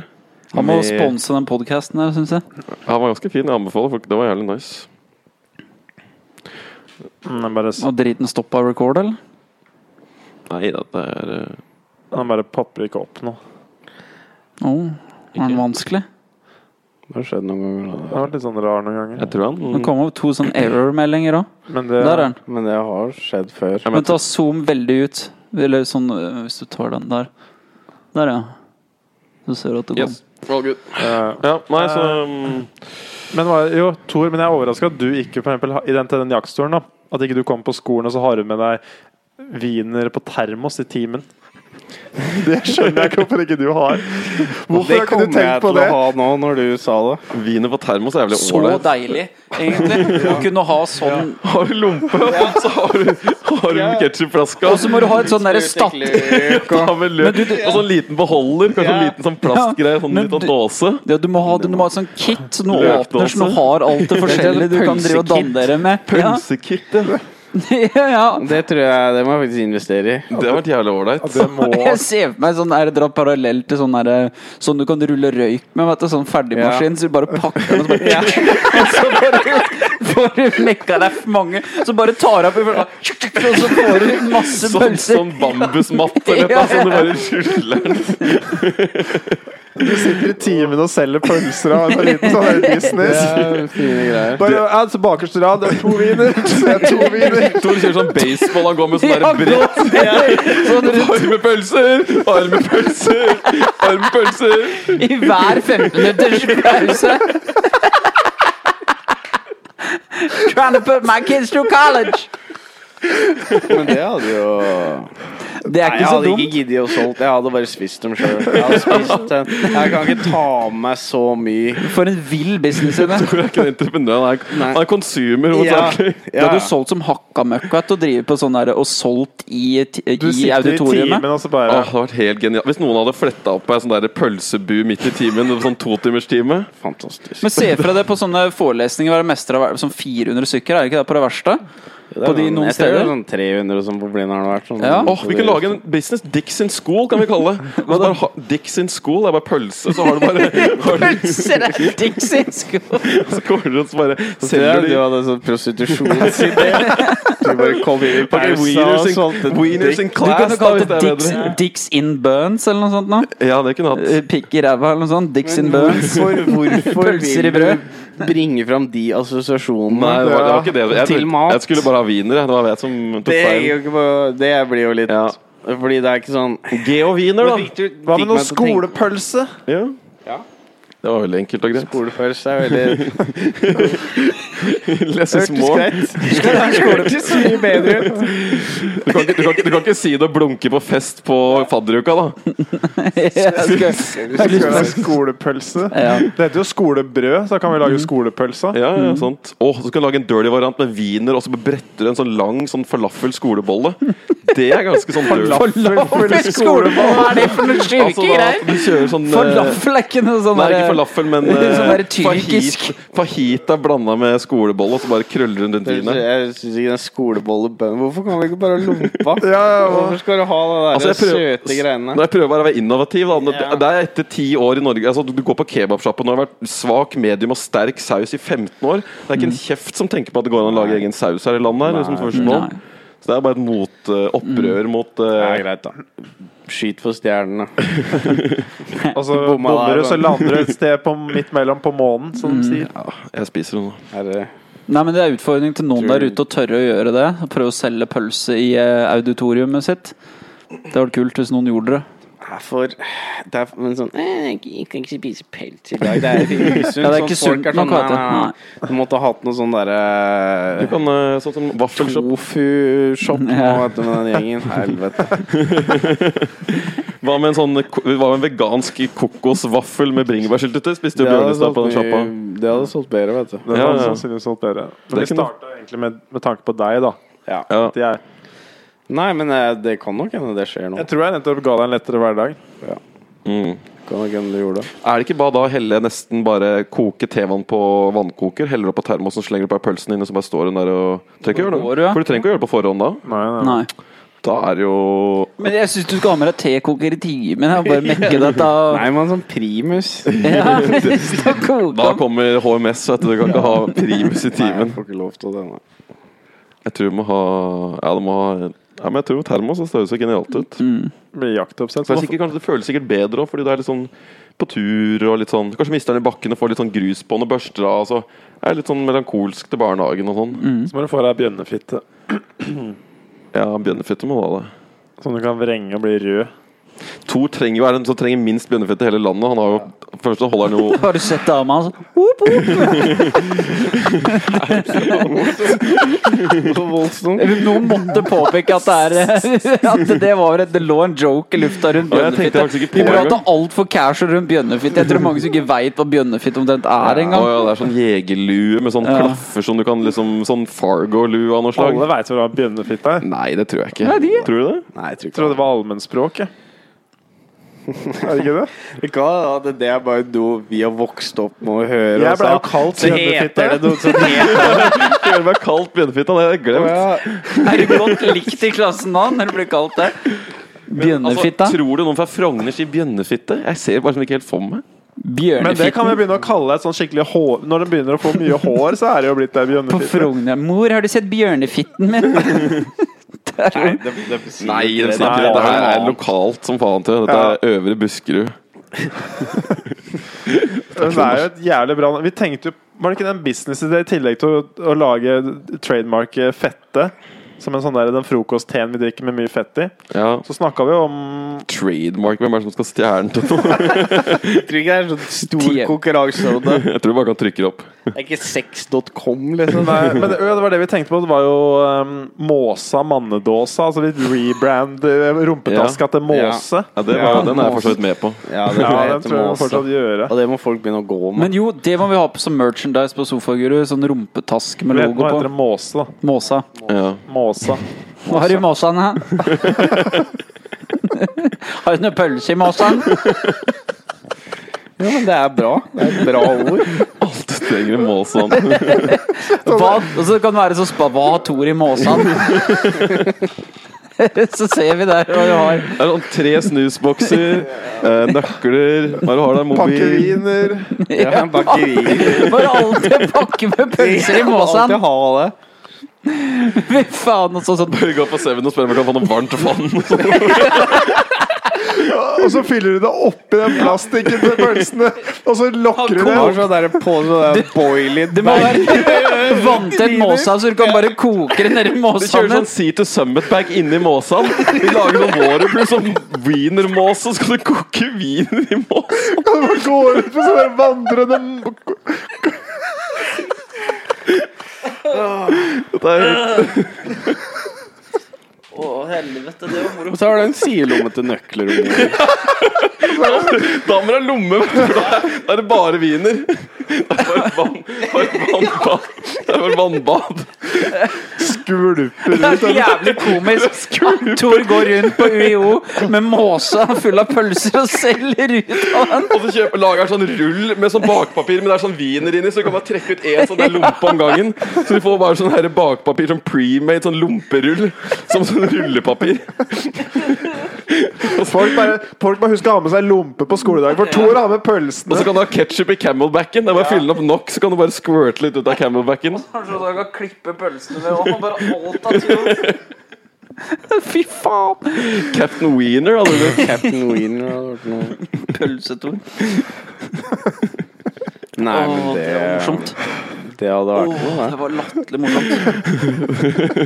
[SPEAKER 1] Han må
[SPEAKER 2] Med-
[SPEAKER 1] sponse den podkasten her, syns jeg.
[SPEAKER 2] Ja, Den var ganske fin. Jeg anbefaler folk. Det var jævlig nice.
[SPEAKER 3] Mm, Han bare, s-
[SPEAKER 1] Og driten stoppa record, eller?
[SPEAKER 2] Nei, dette er eh,
[SPEAKER 3] den bare popper ikke opp nå.
[SPEAKER 1] Oh, var den vanskelig?
[SPEAKER 4] Det har skjedd noen ganger.
[SPEAKER 3] Det har vært litt sånn rar noen ganger.
[SPEAKER 2] Jeg tror han
[SPEAKER 1] Det kom opp to sånne error-meldinger òg.
[SPEAKER 3] Men det,
[SPEAKER 1] Der er den.
[SPEAKER 4] da. Men det har skjedd før.
[SPEAKER 2] Ja, men
[SPEAKER 1] Men ta zoom veldig ut. Eller sånn øh, hvis du tar den der. Der, ja. Du ser at det kom.
[SPEAKER 2] Yes. All good.
[SPEAKER 3] eh,
[SPEAKER 2] Ja, nei, så mm,
[SPEAKER 3] Men hva, jo, Tor, men jeg er overraska at du ikke for eksempel, har- i den, til den jaktstolen da, At ikke du kommer på skolen og så har du med deg wiener på termos i timen. Det skjønner jeg ikke hvorfor ikke du har. Hvorfor har ikke du tenkt på det?
[SPEAKER 4] å ha nå når du sa det.
[SPEAKER 2] Wiener på termos er jævlig
[SPEAKER 1] Så
[SPEAKER 2] ålreit.
[SPEAKER 1] deilig, egentlig, å kunne ha sånn.
[SPEAKER 2] Har du lompe, og så har du, har du
[SPEAKER 4] Ja.
[SPEAKER 2] ketsjupflaska.
[SPEAKER 1] Og så må du ha et sånn derre statt...
[SPEAKER 2] Ta med løk.
[SPEAKER 1] Men du-
[SPEAKER 2] Og sånn liten beholder. Kanskje en
[SPEAKER 4] Ja.
[SPEAKER 2] liten sånn plastgreie. Sånn
[SPEAKER 1] Men
[SPEAKER 2] liten
[SPEAKER 1] du-
[SPEAKER 2] dåse.
[SPEAKER 1] Ja, du må ha, du må ha et sånn kit som du
[SPEAKER 2] Løkdåse.
[SPEAKER 1] åpner, som du har alt det forskjellige du kan drive og danne dere med. Ja,
[SPEAKER 2] Pølsekit. Ja.
[SPEAKER 1] ja, ja.
[SPEAKER 4] Det tror jeg Det må jeg faktisk investere i.
[SPEAKER 2] Det har vært jævlig ålreit.
[SPEAKER 3] Det må
[SPEAKER 1] Jeg ser for meg sånn der, dra parallell til sånn der, sånn du kan rulle røyk med. Vet du, sånn ferdigmaskin. Så du bare pakker den, og så bare, og så bare får du mekka deg for mange. Så bare tar du opp i følga, og så får du masse
[SPEAKER 2] Sånn,
[SPEAKER 1] pølser.
[SPEAKER 2] sånn bambusmatt eller noe
[SPEAKER 1] Ja.
[SPEAKER 2] sånn du bare ruller den.
[SPEAKER 3] Du sitter i timen og selger pølser og har en sånn liten sånn her business.
[SPEAKER 4] Fine greier.
[SPEAKER 3] Bare, ja, så Bakerste rad, det er to wiener. Så er det to wiener.
[SPEAKER 2] Tor kjører sånn baseball. Han går med sånn der
[SPEAKER 1] Ja,
[SPEAKER 2] brett.
[SPEAKER 1] godt. Sånn rundt
[SPEAKER 2] Arme pølser, arme pølser, arme pølser.
[SPEAKER 1] i hver 15-minutters pause. Trying to put my kids through college.
[SPEAKER 4] Men det hadde jo
[SPEAKER 1] Det er
[SPEAKER 4] Nei, jeg
[SPEAKER 1] ikke så
[SPEAKER 4] hadde ikke
[SPEAKER 1] dumt.
[SPEAKER 4] giddet å solgt. Jeg hadde bare spist dem sjøl. Jeg, hadde spist den. jeg kan ikke ta med meg så mye.
[SPEAKER 1] For en vill business. Ine.
[SPEAKER 2] Tor er ikke en entreprenør, han er-
[SPEAKER 4] Nei.
[SPEAKER 2] han er consumer.
[SPEAKER 4] Ja,
[SPEAKER 2] hovedsakelig.
[SPEAKER 1] Du
[SPEAKER 4] ja.
[SPEAKER 1] hadde jo solgt som hakka møkk vet du, og drive på sånn der, og solgt i,
[SPEAKER 3] Du
[SPEAKER 1] i
[SPEAKER 3] sitter i timen
[SPEAKER 1] auditoriet.
[SPEAKER 3] og så bare
[SPEAKER 2] Åh, det har vært helt genialt Hvis noen hadde fletta opp ei sånn der pølsebu midt i timen, en sånn totimerstime
[SPEAKER 4] Fantastisk.
[SPEAKER 1] Men se fra deg på sånne forelesninger være mester av sånn 400 stykker, er det ikke det på det verste?
[SPEAKER 4] Det er
[SPEAKER 1] på de
[SPEAKER 4] sånn-
[SPEAKER 1] noen
[SPEAKER 4] jeg tror det er
[SPEAKER 1] steder?
[SPEAKER 4] Sånn 300 og sånn på Blindern har det vært. Sånn,
[SPEAKER 1] Ja.
[SPEAKER 2] Åh, Vi kan lage en business. Dicks in school kan vi kalle det. Og så Bare ha, Dicks in school det er bare pølse, så har du bare har du,
[SPEAKER 1] Pølser er dingsinsko!
[SPEAKER 2] Så kommer du og så bare
[SPEAKER 4] Ser
[SPEAKER 2] selger
[SPEAKER 4] du
[SPEAKER 2] de
[SPEAKER 4] hadde en sånn prostitusjonsidé? Du bare kom inn i
[SPEAKER 2] Ok,
[SPEAKER 4] pausa og
[SPEAKER 2] wieners in-
[SPEAKER 4] solgte
[SPEAKER 2] Wieners
[SPEAKER 4] dick.
[SPEAKER 2] in
[SPEAKER 1] Du
[SPEAKER 2] class,
[SPEAKER 1] kunne
[SPEAKER 2] da, hvis
[SPEAKER 1] kalt
[SPEAKER 2] det
[SPEAKER 1] det
[SPEAKER 2] er
[SPEAKER 1] dicks,
[SPEAKER 2] bedre.
[SPEAKER 1] dicks in Burns eller noe sånt. nå
[SPEAKER 2] Ja, det kunne jeg hatt.
[SPEAKER 1] Eh, Pikk i ræva eller noe sånt. Dicks in
[SPEAKER 4] Men
[SPEAKER 1] Burns.
[SPEAKER 4] hvorfor, hvorfor
[SPEAKER 1] Pølser i
[SPEAKER 4] vil
[SPEAKER 1] brød.
[SPEAKER 4] du bringe fram de assosiasjonene?
[SPEAKER 2] Nei, det var, det var ikke det. Jeg,
[SPEAKER 4] Til mat.
[SPEAKER 2] jeg skulle bare ha wiener. jeg. Det var jeg som tok
[SPEAKER 4] Det, er
[SPEAKER 2] feil.
[SPEAKER 4] jo ikke på- det blir jo litt
[SPEAKER 2] Ja.
[SPEAKER 4] Fordi det er ikke sånn
[SPEAKER 2] Geo wiener, da.
[SPEAKER 3] Hva med noe skolepølse?
[SPEAKER 2] Ja. Det var veldig enkelt og greit.
[SPEAKER 4] Skolepølse er veldig
[SPEAKER 2] Lesse små.
[SPEAKER 4] Hørtes greit Hørtes mye bedre ut.
[SPEAKER 2] Du kan, ikke, du, kan, ikke- du kan ikke si det og blunke på fest på fadderuka, da.
[SPEAKER 1] Jeg skal-
[SPEAKER 3] Skal vi ha Skolepølse.
[SPEAKER 1] Ja.
[SPEAKER 3] Det heter jo skolebrød, så da kan vi lage skolepølse.
[SPEAKER 2] Mm. Ja, ja,
[SPEAKER 1] Mm.
[SPEAKER 2] sant. Åh, så skal du lage en dirty variant med wiener, og så bretter du en sånn lang sånn falafel-skolebolle. Det er ganske sånn dirty.
[SPEAKER 3] Falafel,
[SPEAKER 1] Skole, hva er det for noen
[SPEAKER 2] Altså,
[SPEAKER 1] syke
[SPEAKER 2] da,
[SPEAKER 1] greier?
[SPEAKER 2] du kjører sånn eh,
[SPEAKER 1] Falafel er ikke noe sånn
[SPEAKER 2] Nei, ikke
[SPEAKER 1] der-
[SPEAKER 2] falafel, men
[SPEAKER 1] Sånn
[SPEAKER 2] eh,
[SPEAKER 1] der tyrkisk.
[SPEAKER 2] fajit- Fajita blanda med skolebolle, og så bare krøller hun rundt dine.
[SPEAKER 4] Jeg syns ikke den skolebollebønnen Hvorfor kan vi ikke bare lompe?
[SPEAKER 3] Ja, ja, hva?
[SPEAKER 4] Hvorfor skal du ha de der
[SPEAKER 2] Altså, jeg prøver-
[SPEAKER 4] søte greiene?
[SPEAKER 2] Når jeg prøver bare å være innovativ da, når,
[SPEAKER 4] Ja.
[SPEAKER 2] Det er etter ti år i Norge altså, Du du går på kebabsjappen og har vært svak, medium og sterk saus i 15 år. Det er ikke en kjeft som tenker på at det går an å lage egen saus her i landet. Her, liksom, først nå.
[SPEAKER 1] Mm. Nei. Mm.
[SPEAKER 2] Så det er bare et mot, eh, opprør mot eh,
[SPEAKER 4] greit, da. Skyt for stjernene.
[SPEAKER 3] Og så
[SPEAKER 4] Bomma der,
[SPEAKER 3] bommer du,
[SPEAKER 4] da.
[SPEAKER 3] så lander du et sted på, midt mellom på månen, som de sier.
[SPEAKER 2] Mm. ja, Jeg spiser den nå.
[SPEAKER 4] Er det
[SPEAKER 1] Nei, men Det er utfordring til noen der ute å tørre å gjøre det. Å Prøve å selge pølse i eh, auditoriumet sitt. Det hadde vært kult hvis noen gjorde det.
[SPEAKER 4] er for Det er men sånn eh, jeg, jeg kan ikke spise pels i dag. Det er sånn, usunt.
[SPEAKER 1] Ja, det er ikke sunt nok, vet du. Nei.
[SPEAKER 4] Du måtte ha hatt noe sånn derre
[SPEAKER 2] Du kan eh, sånn som vaffelshop.
[SPEAKER 4] Tofu-shop nå,
[SPEAKER 1] Ja.
[SPEAKER 4] vet du, med den gjengen. Helvete.
[SPEAKER 2] Hva med en sånn ko- hva med en vegansk kokosvaffel med bringebærsyltetøy? Spiste du
[SPEAKER 4] Det hadde
[SPEAKER 1] sånn
[SPEAKER 2] Bjørnestad på den
[SPEAKER 4] solgt
[SPEAKER 2] sjappa?
[SPEAKER 4] mye- det hadde solgt bedre, vet du.
[SPEAKER 3] Det
[SPEAKER 2] Ja,
[SPEAKER 3] var
[SPEAKER 2] ja.
[SPEAKER 3] sannsynligvis alt bedre.
[SPEAKER 2] er
[SPEAKER 3] Men vi
[SPEAKER 2] ikke noe-
[SPEAKER 3] starta egentlig med, med tanke på deg, da.
[SPEAKER 4] Ja.
[SPEAKER 2] Ja.
[SPEAKER 3] At jeg,
[SPEAKER 4] Nei, men eh, det kan nok hende det skjer nå.
[SPEAKER 3] jeg tror jeg nettopp ga deg en lettere hverdag.
[SPEAKER 2] Mm.
[SPEAKER 4] Kan nok hende du gjorde det.
[SPEAKER 2] Er det ikke bare da å helle nesten bare koke tevann på vannkoker, heller opp på termosen, slenger opp av pølsen inn, og så bare står hun der og trenger ikke å
[SPEAKER 1] Går
[SPEAKER 2] gjøre
[SPEAKER 1] du,
[SPEAKER 2] det.
[SPEAKER 1] ja?
[SPEAKER 2] For du trenger ikke å gjøre det på forhånd da.
[SPEAKER 3] Nei, nei.
[SPEAKER 1] Nei.
[SPEAKER 2] Da er det jo
[SPEAKER 1] Men jeg syns du skal ha med deg tekoker i timen. ja, Bare mekke dette.
[SPEAKER 4] Nei, men sånn primus
[SPEAKER 1] Ja, stå og koke
[SPEAKER 2] Da
[SPEAKER 1] den.
[SPEAKER 2] kommer HMS, vet du. Du kan ikke ha primus i
[SPEAKER 4] Nei, jeg
[SPEAKER 2] timen.
[SPEAKER 4] får ikke lov til det. nei.
[SPEAKER 2] Jeg tror du må ha Ja, du må ha ja, men jeg tror termos det ser jo så genialt ut. Det,
[SPEAKER 3] Blir jaktoppsett.
[SPEAKER 2] er sikkert, kanskje, det føles sikkert bedre òg, fordi det er litt sånn på tur og litt sånn Kanskje mister den i bakken og får litt sånn grus på den og børster av. og Så er det litt sånn melankolsk til barnehagen og sånn.
[SPEAKER 3] Så må du få deg bjønnefitte,
[SPEAKER 2] Ja, bjønnefitte må du ha det.
[SPEAKER 3] som du kan vrenge og bli rød.
[SPEAKER 2] Tor trenger jo er den som trenger minst bjønnefett i hele landet. Han har jo, Først så holder han jo
[SPEAKER 1] Har du sett dama hans? Opp, opp.
[SPEAKER 4] Voldsomt.
[SPEAKER 1] Noen måtte påpeke at det, er, at det, var et, det lå en joke i lufta rundt
[SPEAKER 2] Ja, jeg tenkte
[SPEAKER 1] bjønnefitte.
[SPEAKER 2] faktisk ikke på
[SPEAKER 1] Vi
[SPEAKER 2] det
[SPEAKER 1] prata
[SPEAKER 2] engang.
[SPEAKER 1] altfor casual rundt bjønnefitte. Jeg tror mange som ikke veit hva bjønnefitte omtrent er
[SPEAKER 2] Å
[SPEAKER 1] engang.
[SPEAKER 2] ja, det er sånn jegerlue med sånn
[SPEAKER 1] Ja.
[SPEAKER 2] klaffer som du kan liksom Sånn Fargo-lue av noe slag.
[SPEAKER 3] Alle veit hva bjønnefitte er.
[SPEAKER 2] Nei, det tror jeg ikke.
[SPEAKER 1] Nei, de-
[SPEAKER 2] Tror du det?
[SPEAKER 4] Nei, jeg tror
[SPEAKER 3] Jeg trodde
[SPEAKER 4] ikke
[SPEAKER 3] det var allmennspråk, jeg. Er det ikke det?
[SPEAKER 4] det. Hva, da? det. Det er bare noe vi har vokst opp med å høre. altså. og
[SPEAKER 3] Jeg ble jo
[SPEAKER 4] så-
[SPEAKER 3] kalt
[SPEAKER 4] Så heter det noe som heter
[SPEAKER 2] Det gjør meg kaldt bjønnefitte. Det har jeg glemt.
[SPEAKER 4] ja.
[SPEAKER 1] Er du godt likt i klassen da, når du blir kalt det? Bjønnefitta.
[SPEAKER 2] Altså, tror du noen fra Frogner sier bjønnefitte? Jeg ser bare som ikke helt for meg.
[SPEAKER 3] Men det kan
[SPEAKER 1] Bjørnefitten
[SPEAKER 3] vi begynne å kalle et sånn skikkelig hår Når den begynner å få mye hår, så er det jo blitt ei
[SPEAKER 1] på
[SPEAKER 3] bjønnefitte.
[SPEAKER 1] Frogner. Mor, har du sett bjørnefitten min? Det er
[SPEAKER 4] Nei,
[SPEAKER 1] jo-
[SPEAKER 4] det, det betyr
[SPEAKER 2] Nei,
[SPEAKER 4] ikke
[SPEAKER 2] det,
[SPEAKER 4] det. Det er
[SPEAKER 2] her
[SPEAKER 4] bare
[SPEAKER 2] er
[SPEAKER 4] noe
[SPEAKER 2] lokalt som faen til. Dette er Øvre Buskerud.
[SPEAKER 3] Men det er jo et jævlig bra Vi tenkte jo Var det ikke den businessidé i tillegg til å, å lage trademarket fette? Som en sånn der, den frokostteen vi drikker med mye fett i.
[SPEAKER 2] Ja.
[SPEAKER 3] Så snakka vi om
[SPEAKER 2] Trademark, hvem er det som skal stjerne til noe?
[SPEAKER 4] Jeg tror ikke det er sånn stor
[SPEAKER 1] Ti-
[SPEAKER 4] konkurranse om det.
[SPEAKER 2] Jeg tror du bare kan trykke det opp.
[SPEAKER 4] Det er ikke sex.com, liksom.
[SPEAKER 3] Nei, men det, ja, det var det vi tenkte på. Det var jo ehm, Måsa mannedåsa. Altså vi rebrander rumpetaska til Måse.
[SPEAKER 2] Ja, det var, Den er jeg for så vidt med på.
[SPEAKER 4] Ja, det
[SPEAKER 3] Ja,
[SPEAKER 4] må
[SPEAKER 3] den
[SPEAKER 4] hete
[SPEAKER 3] tror jeg vi
[SPEAKER 4] Måse.
[SPEAKER 3] fortsatt gjøre.
[SPEAKER 4] Og det må folk begynne å gå med.
[SPEAKER 1] Men jo, det må vi ha på som merchandise på Sofaguru. Sånn rumpetaske med
[SPEAKER 3] Nå
[SPEAKER 1] logo
[SPEAKER 3] heter det
[SPEAKER 1] på.
[SPEAKER 3] Måse, da.
[SPEAKER 1] Måsa.
[SPEAKER 2] Ja.
[SPEAKER 3] Måsa.
[SPEAKER 1] Hva har du i måsan, hæ? Har du noe pølse i måsan?
[SPEAKER 4] Ja, men det er bra. Det er et bra ord.
[SPEAKER 2] Alt du trenger en målsånn.
[SPEAKER 1] Hva? Og så kan det være så spa. Hva har Tor i måsan? Så ser vi der hva du har.
[SPEAKER 2] Det er sånn tre snusbokser, eh, nøkler Hva er det du har der? Mobil?
[SPEAKER 3] Pakkeviner.
[SPEAKER 4] Ja, en bakeri.
[SPEAKER 1] Bare alltid pakke med pølser i måsan.
[SPEAKER 4] Alltid ha det.
[SPEAKER 1] Fy faen, og så sånn
[SPEAKER 2] Vi går på Seven og spør om vi kan få noe varmt vann.
[SPEAKER 3] Og så fyller du det oppi den plastikken til pølsene, og så lokker du
[SPEAKER 4] Det var
[SPEAKER 3] det.
[SPEAKER 4] sånn der på sånn der boiling
[SPEAKER 1] Det må være vanntett måsa, så du kan bare koke det nedi
[SPEAKER 2] Vi kjører
[SPEAKER 1] måsaene.
[SPEAKER 2] sånn Sea to Summit-bag inni måsan. Vi lager sånn Waterproof, sånn wienermås, så skal du koke wiener i mås.
[SPEAKER 3] Og så går du på sånne vandrende
[SPEAKER 2] Dette er
[SPEAKER 4] Å, helvete, det var moro. Og så har du en sidelomme til nøkler. Unge.
[SPEAKER 2] Da må du ha lomme, for da er- da er det bare viner. Det er bare vann, bare vannbad. Det er bare vannbad.
[SPEAKER 3] Skvulper
[SPEAKER 1] Det er jævlig komisk. Tor går rundt på UiO med måse full av pølser og selger ut av den.
[SPEAKER 2] Og så kjøper, lager han sånn rull med sånn bakpapir, men det er sånn viner inni, så du kan bare trekke ut én sånn der lompe om gangen. Så du får bare sånn her bakpapir, sånn premade, sånn lomperull, som sånn rullepapir.
[SPEAKER 3] Folk bare, folk bare husker å ha med seg lompe på skoledag, for Tor har med
[SPEAKER 2] Og så
[SPEAKER 3] pølsene.
[SPEAKER 2] kan du ha ketsjup i camelbacken. Det er bare å fylle den opp nok, så kan du bare squirte litt ut av camelbacken.
[SPEAKER 1] Kanskje han kan klippe pølsene med og bare alt av tjort. Fy faen!
[SPEAKER 2] Captain Wiener hadde du.
[SPEAKER 4] Captain Wiener hadde vært noe.
[SPEAKER 1] Pølsetor.
[SPEAKER 4] Nei, men
[SPEAKER 1] Åh,
[SPEAKER 4] det,
[SPEAKER 1] det var morsomt.
[SPEAKER 4] det hadde vært
[SPEAKER 1] Åh,
[SPEAKER 4] noe.
[SPEAKER 1] det var latterlig morsomt.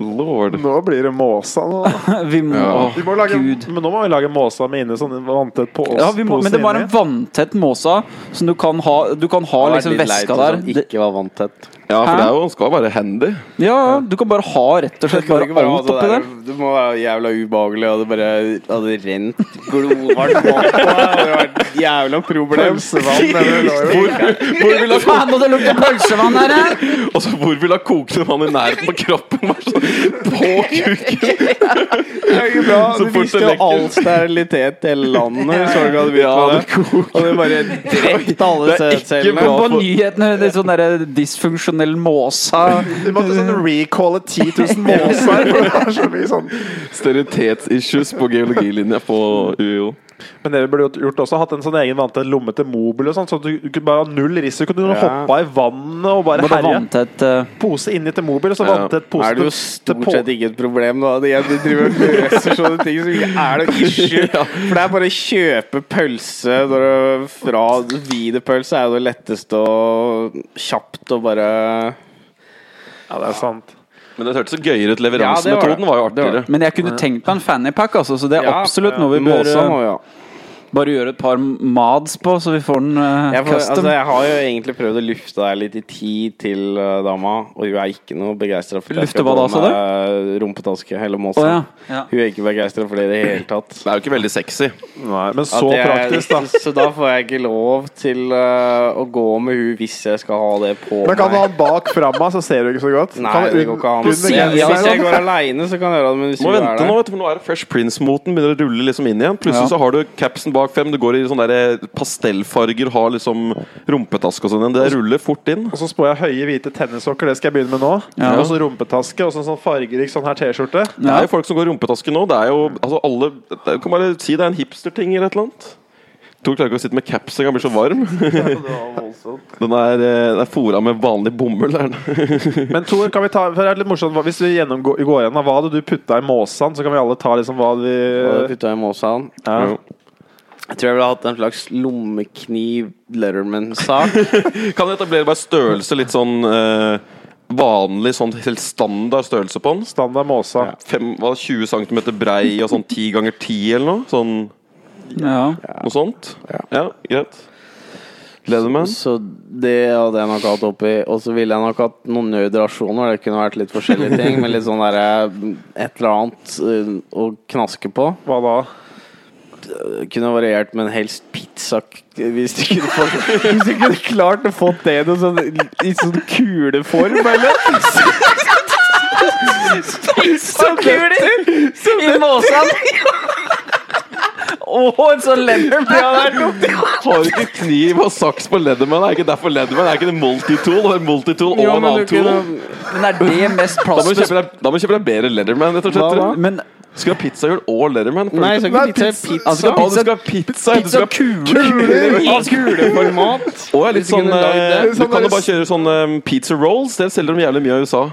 [SPEAKER 2] Lord.
[SPEAKER 3] Nå blir det måsa nå.
[SPEAKER 1] Vi må
[SPEAKER 2] Ja.
[SPEAKER 3] Vi må lage,
[SPEAKER 1] Gud.
[SPEAKER 3] men nå må vi lage måsa med inni sånn vanntett på oss.
[SPEAKER 1] Ja, vi må, men det var en vanntett måsa som du kan ha Du kan ha liksom veska der.
[SPEAKER 4] Som
[SPEAKER 1] Det-
[SPEAKER 4] ikke var vanntett.
[SPEAKER 2] Ja, for
[SPEAKER 1] Hæ?
[SPEAKER 2] det er jo, han skal være handy.
[SPEAKER 1] Ja, ja, du kan bare ha rett og slett bare
[SPEAKER 4] sånn
[SPEAKER 1] alt oppi der.
[SPEAKER 4] altså, det må være jævla ubehagelig, og det bare hadde rent glovarmt vann på deg. Det hadde vært et jævla problem.
[SPEAKER 3] Pølsevann eller lå jo-
[SPEAKER 2] Hvor, hvor vil han
[SPEAKER 1] Faen, og det lukter pølsevann her! eh!
[SPEAKER 2] Altså, hvor vil han kokende vann i nærheten på kroppen? Bare sånn, på kuken!
[SPEAKER 4] Det er ikke bra.
[SPEAKER 2] Så
[SPEAKER 4] Du
[SPEAKER 2] fort
[SPEAKER 4] visste
[SPEAKER 2] det
[SPEAKER 4] jo
[SPEAKER 2] lekker.
[SPEAKER 4] all sterilitet i hele landet. Så du ikke hadde begynt
[SPEAKER 2] Ja,
[SPEAKER 4] med
[SPEAKER 2] det
[SPEAKER 4] det.
[SPEAKER 2] koker.
[SPEAKER 4] Og det bare drept alle
[SPEAKER 2] Det er ikke
[SPEAKER 4] sædcellene.
[SPEAKER 2] bra.
[SPEAKER 1] På nyhetene det er sånn derre dysfunksjonell måsa.
[SPEAKER 3] Vi måtte sånn recalle 10 000 måser, for det var så mye sånn.
[SPEAKER 2] Sterilitetsissues på geologilinja på UiO.
[SPEAKER 3] Men dere burde jo gjort også hatt en sånn egen vanntett lomme til mobil og sånn, så du du kunne bare ha null risiko. Du kunne
[SPEAKER 4] Ja.
[SPEAKER 3] hoppa i vannet og bare
[SPEAKER 1] Bare
[SPEAKER 3] herje.
[SPEAKER 1] vanntett eh,
[SPEAKER 3] Pose inni til mobil, og så
[SPEAKER 2] Ja.
[SPEAKER 3] vanntett pose
[SPEAKER 4] Er det jo
[SPEAKER 3] til
[SPEAKER 4] stort
[SPEAKER 3] på-
[SPEAKER 4] sett ikke et problem, da? De de driver og løser sånne ting som ikke er noe issue. For det er bare å kjøpe pølse når du, fra Wienerpølse er jo det letteste og kjapt og bare
[SPEAKER 3] Ja, det er sant.
[SPEAKER 2] Men det hørtes så gøyere ut.
[SPEAKER 4] Ja, det
[SPEAKER 2] Leveransemetoden
[SPEAKER 4] var det.
[SPEAKER 2] var jo
[SPEAKER 4] Det var
[SPEAKER 2] artigere.
[SPEAKER 1] Men jeg kunne tenkt meg en fannypack, altså, så det er
[SPEAKER 4] Ja,
[SPEAKER 1] absolutt noe vi bør
[SPEAKER 4] Måsa må
[SPEAKER 1] eh,
[SPEAKER 4] jo ha.
[SPEAKER 1] bare gjøre et par mads på, så vi får den eh,
[SPEAKER 4] Jeg, får, altså,
[SPEAKER 1] custom.
[SPEAKER 4] jeg har jo egentlig prøvd å lufte deg litt i tid til eh, dama, og hun er ikke noe begeistra for at jeg
[SPEAKER 1] Lufte hva da, sa
[SPEAKER 4] meg eh, rumpetaske eller måsa.
[SPEAKER 1] Å, ja. Ja.
[SPEAKER 4] Hun er ikke begeistra for det i det hele tatt.
[SPEAKER 2] Det er jo ikke veldig sexy.
[SPEAKER 3] Nei, men
[SPEAKER 4] At
[SPEAKER 3] så
[SPEAKER 4] jeg-
[SPEAKER 3] praktisk, da.
[SPEAKER 4] Så da får jeg ikke lov til eh, å gå med hun hvis jeg skal ha det på
[SPEAKER 3] Men kan du ha
[SPEAKER 4] meg.
[SPEAKER 3] den bak framme, så ser du ikke så godt?
[SPEAKER 4] Nei,
[SPEAKER 3] Kan du
[SPEAKER 4] det
[SPEAKER 3] un-
[SPEAKER 4] går ikke an.
[SPEAKER 3] under
[SPEAKER 4] Hvis jeg,
[SPEAKER 3] genseren
[SPEAKER 4] hvis jeg
[SPEAKER 3] eller noe?
[SPEAKER 4] går aleine, så kan jeg gjøre det. Men hvis
[SPEAKER 2] Må
[SPEAKER 4] hun
[SPEAKER 2] vente
[SPEAKER 4] er
[SPEAKER 2] nå,
[SPEAKER 4] der
[SPEAKER 2] vet du, for nå er det Fresh Prince-moten begynner å rulle liksom inn igjen. Plutselig
[SPEAKER 1] Ja.
[SPEAKER 2] så har du capsen bak fem, du går i sånne der eh, pastellfarger, har liksom rumpetaske og sånn igjen. Det ruller fort inn.
[SPEAKER 3] Og så spår jeg høye, hvite tennissokker, det skal jeg begynne med nå.
[SPEAKER 1] Ja.
[SPEAKER 3] Og så rumpetaske, og så en sånn fargerik sånn her T-skjorte.
[SPEAKER 2] Det
[SPEAKER 1] Ja.
[SPEAKER 2] er jo folk som går i rumpetaske nå. Det er jo altså alle det- Du kan bare si det er en hipsterting eller et eller annet. Tor klarer ikke å sitte med caps engang, blir så varm. Den er, eh, den er fora med vanlig bomull. Er den.
[SPEAKER 3] Men Tor, kan vi ta, for det er litt morsomt hva- Hvis vi gjennomgår, går gjennom hva hadde du putta i måsen, så kan vi alle ta liksom hva
[SPEAKER 4] Og
[SPEAKER 3] vi
[SPEAKER 4] putta i måsaen.
[SPEAKER 3] ja.
[SPEAKER 4] Jeg tror jeg ville hatt en slags lommekniv-Letterman-sak.
[SPEAKER 2] Kan du etablere bare størrelse litt sånn eh, vanlig, sånn helt standard størrelse på den?
[SPEAKER 3] Standard måsa.
[SPEAKER 2] Fem, hva, 20 cm brei og sånn 10 ganger 10 eller noe? Sånn,
[SPEAKER 1] Ja.
[SPEAKER 2] Noe sånt? Ja, greit. Leatherman?
[SPEAKER 4] Så det hadde jeg nok hatt oppi. Og så ville jeg nok hatt noen nødrasjoner. Det kunne vært litt forskjellige ting, men litt sånn derre Et eller annet eh, å knaske på.
[SPEAKER 3] Hva da?
[SPEAKER 4] Det kunne variert, men helst pizza k- hvis du kunne, få, hvis du kunne klart å få det i noe sånn, i sånn kuleform, eller?
[SPEAKER 1] Pizzakuler i måsen! Og en sånn Leatherman!
[SPEAKER 2] Har du ikke kniv og saks på Leatherman? Er ikke derfor Leatherman? Er ikke det multitool? Det er multitool og en annen tool?
[SPEAKER 1] Men er det mest
[SPEAKER 2] Da må du
[SPEAKER 1] plastbes...
[SPEAKER 2] kjøpe deg, da må du kjøpe deg bedre Leatherman, rett og
[SPEAKER 4] Hva da?
[SPEAKER 2] slett.
[SPEAKER 1] Men
[SPEAKER 2] Skal du ha pizzahjul og Leatherman?
[SPEAKER 4] Nei, så ikke
[SPEAKER 3] Nei,
[SPEAKER 4] pizza.
[SPEAKER 3] pizza.
[SPEAKER 4] pizza. Altså,
[SPEAKER 2] Å, du skal ha pizza! Du skal ha
[SPEAKER 1] pizzakuler i
[SPEAKER 4] kuleformat.
[SPEAKER 2] Å, jeg er litt
[SPEAKER 4] Hvis du
[SPEAKER 2] sånn
[SPEAKER 4] kunne lagd
[SPEAKER 2] eh,
[SPEAKER 4] det.
[SPEAKER 2] Du kan jo bare kjøre sånn eh, pizza rolls. Det selger de jævlig mye i USA.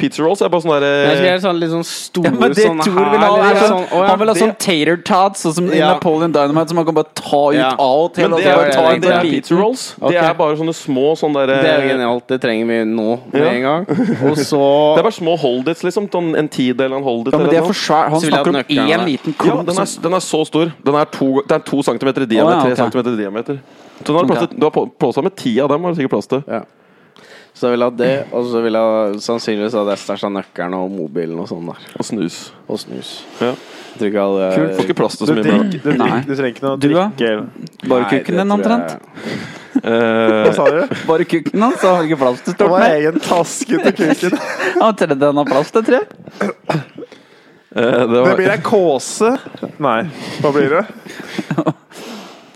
[SPEAKER 2] Pizza rolls er bare sånn
[SPEAKER 4] Jeg skal
[SPEAKER 2] derre
[SPEAKER 4] gjøre sånn litt sånn store
[SPEAKER 1] ja, men det
[SPEAKER 4] sånn
[SPEAKER 1] Tor vil
[SPEAKER 4] her,
[SPEAKER 1] ha, er
[SPEAKER 4] eller
[SPEAKER 1] sånn,
[SPEAKER 4] sånn- Å, ja,
[SPEAKER 1] han vil ha
[SPEAKER 4] det-
[SPEAKER 1] sånn tater tots, sånn som i
[SPEAKER 4] Ja.
[SPEAKER 1] Napoleon Dynamite, som han kan bare ta ut
[SPEAKER 4] Ja.
[SPEAKER 1] av og til.
[SPEAKER 2] Men
[SPEAKER 1] og
[SPEAKER 2] det
[SPEAKER 1] så
[SPEAKER 2] er,
[SPEAKER 1] bare
[SPEAKER 2] det
[SPEAKER 1] ta
[SPEAKER 2] er,
[SPEAKER 1] en
[SPEAKER 2] det er
[SPEAKER 1] liten-
[SPEAKER 2] pizza rolls.
[SPEAKER 4] Ok.
[SPEAKER 2] Det er bare sånne små sånn derre
[SPEAKER 4] Det er jo
[SPEAKER 2] Det
[SPEAKER 4] genialt. Det trenger vi nå med
[SPEAKER 2] Ja.
[SPEAKER 4] en gang. Og så
[SPEAKER 2] er bare små holdits, liksom. Sånn en tidel, en holdit
[SPEAKER 1] Ja, men
[SPEAKER 2] eller
[SPEAKER 1] det er
[SPEAKER 2] noe.
[SPEAKER 1] for svært. Han
[SPEAKER 4] Så vil jeg
[SPEAKER 1] snakker om
[SPEAKER 4] ha nøkkelen
[SPEAKER 1] én
[SPEAKER 4] der.
[SPEAKER 1] liten
[SPEAKER 2] Ja,
[SPEAKER 1] klump.
[SPEAKER 2] den er,
[SPEAKER 1] som-
[SPEAKER 2] den er så stor. Den er to, det er to centimeter i diameter.
[SPEAKER 1] Å, ja, ok.
[SPEAKER 2] Tre centimeter i diameter. Så den har du plass til- du har på- plass til med ti av dem. har du sikkert plass til
[SPEAKER 4] Ja. Så jeg vil ha det, og så vil jeg sannsynligvis ha stæsja nøkkelen og mobilen og sånn der.
[SPEAKER 2] Og snus.
[SPEAKER 4] Og snus.
[SPEAKER 2] Ja.
[SPEAKER 4] Jeg tror ikke jeg
[SPEAKER 2] Kult. Får
[SPEAKER 4] hadde
[SPEAKER 2] ikke plass
[SPEAKER 3] Du,
[SPEAKER 2] til så mye bra.
[SPEAKER 3] drikk, du,
[SPEAKER 1] Nei.
[SPEAKER 3] drikk, du trenger ikke noe
[SPEAKER 1] Du, da?
[SPEAKER 3] drikke.
[SPEAKER 1] Bare
[SPEAKER 4] Nei, det
[SPEAKER 1] kukken din,
[SPEAKER 4] tror jeg-
[SPEAKER 1] omtrent.
[SPEAKER 3] Hva
[SPEAKER 2] Eh,
[SPEAKER 3] sa du?
[SPEAKER 1] Bare kukken hans, så har ikke plass til
[SPEAKER 3] Det
[SPEAKER 1] stort
[SPEAKER 3] var
[SPEAKER 1] mer.
[SPEAKER 3] egen taske til kuken.
[SPEAKER 1] Han trodde han har plass til tre.
[SPEAKER 2] eh, det
[SPEAKER 3] Det
[SPEAKER 2] var
[SPEAKER 3] blir ei kåse. Nei, hva blir det?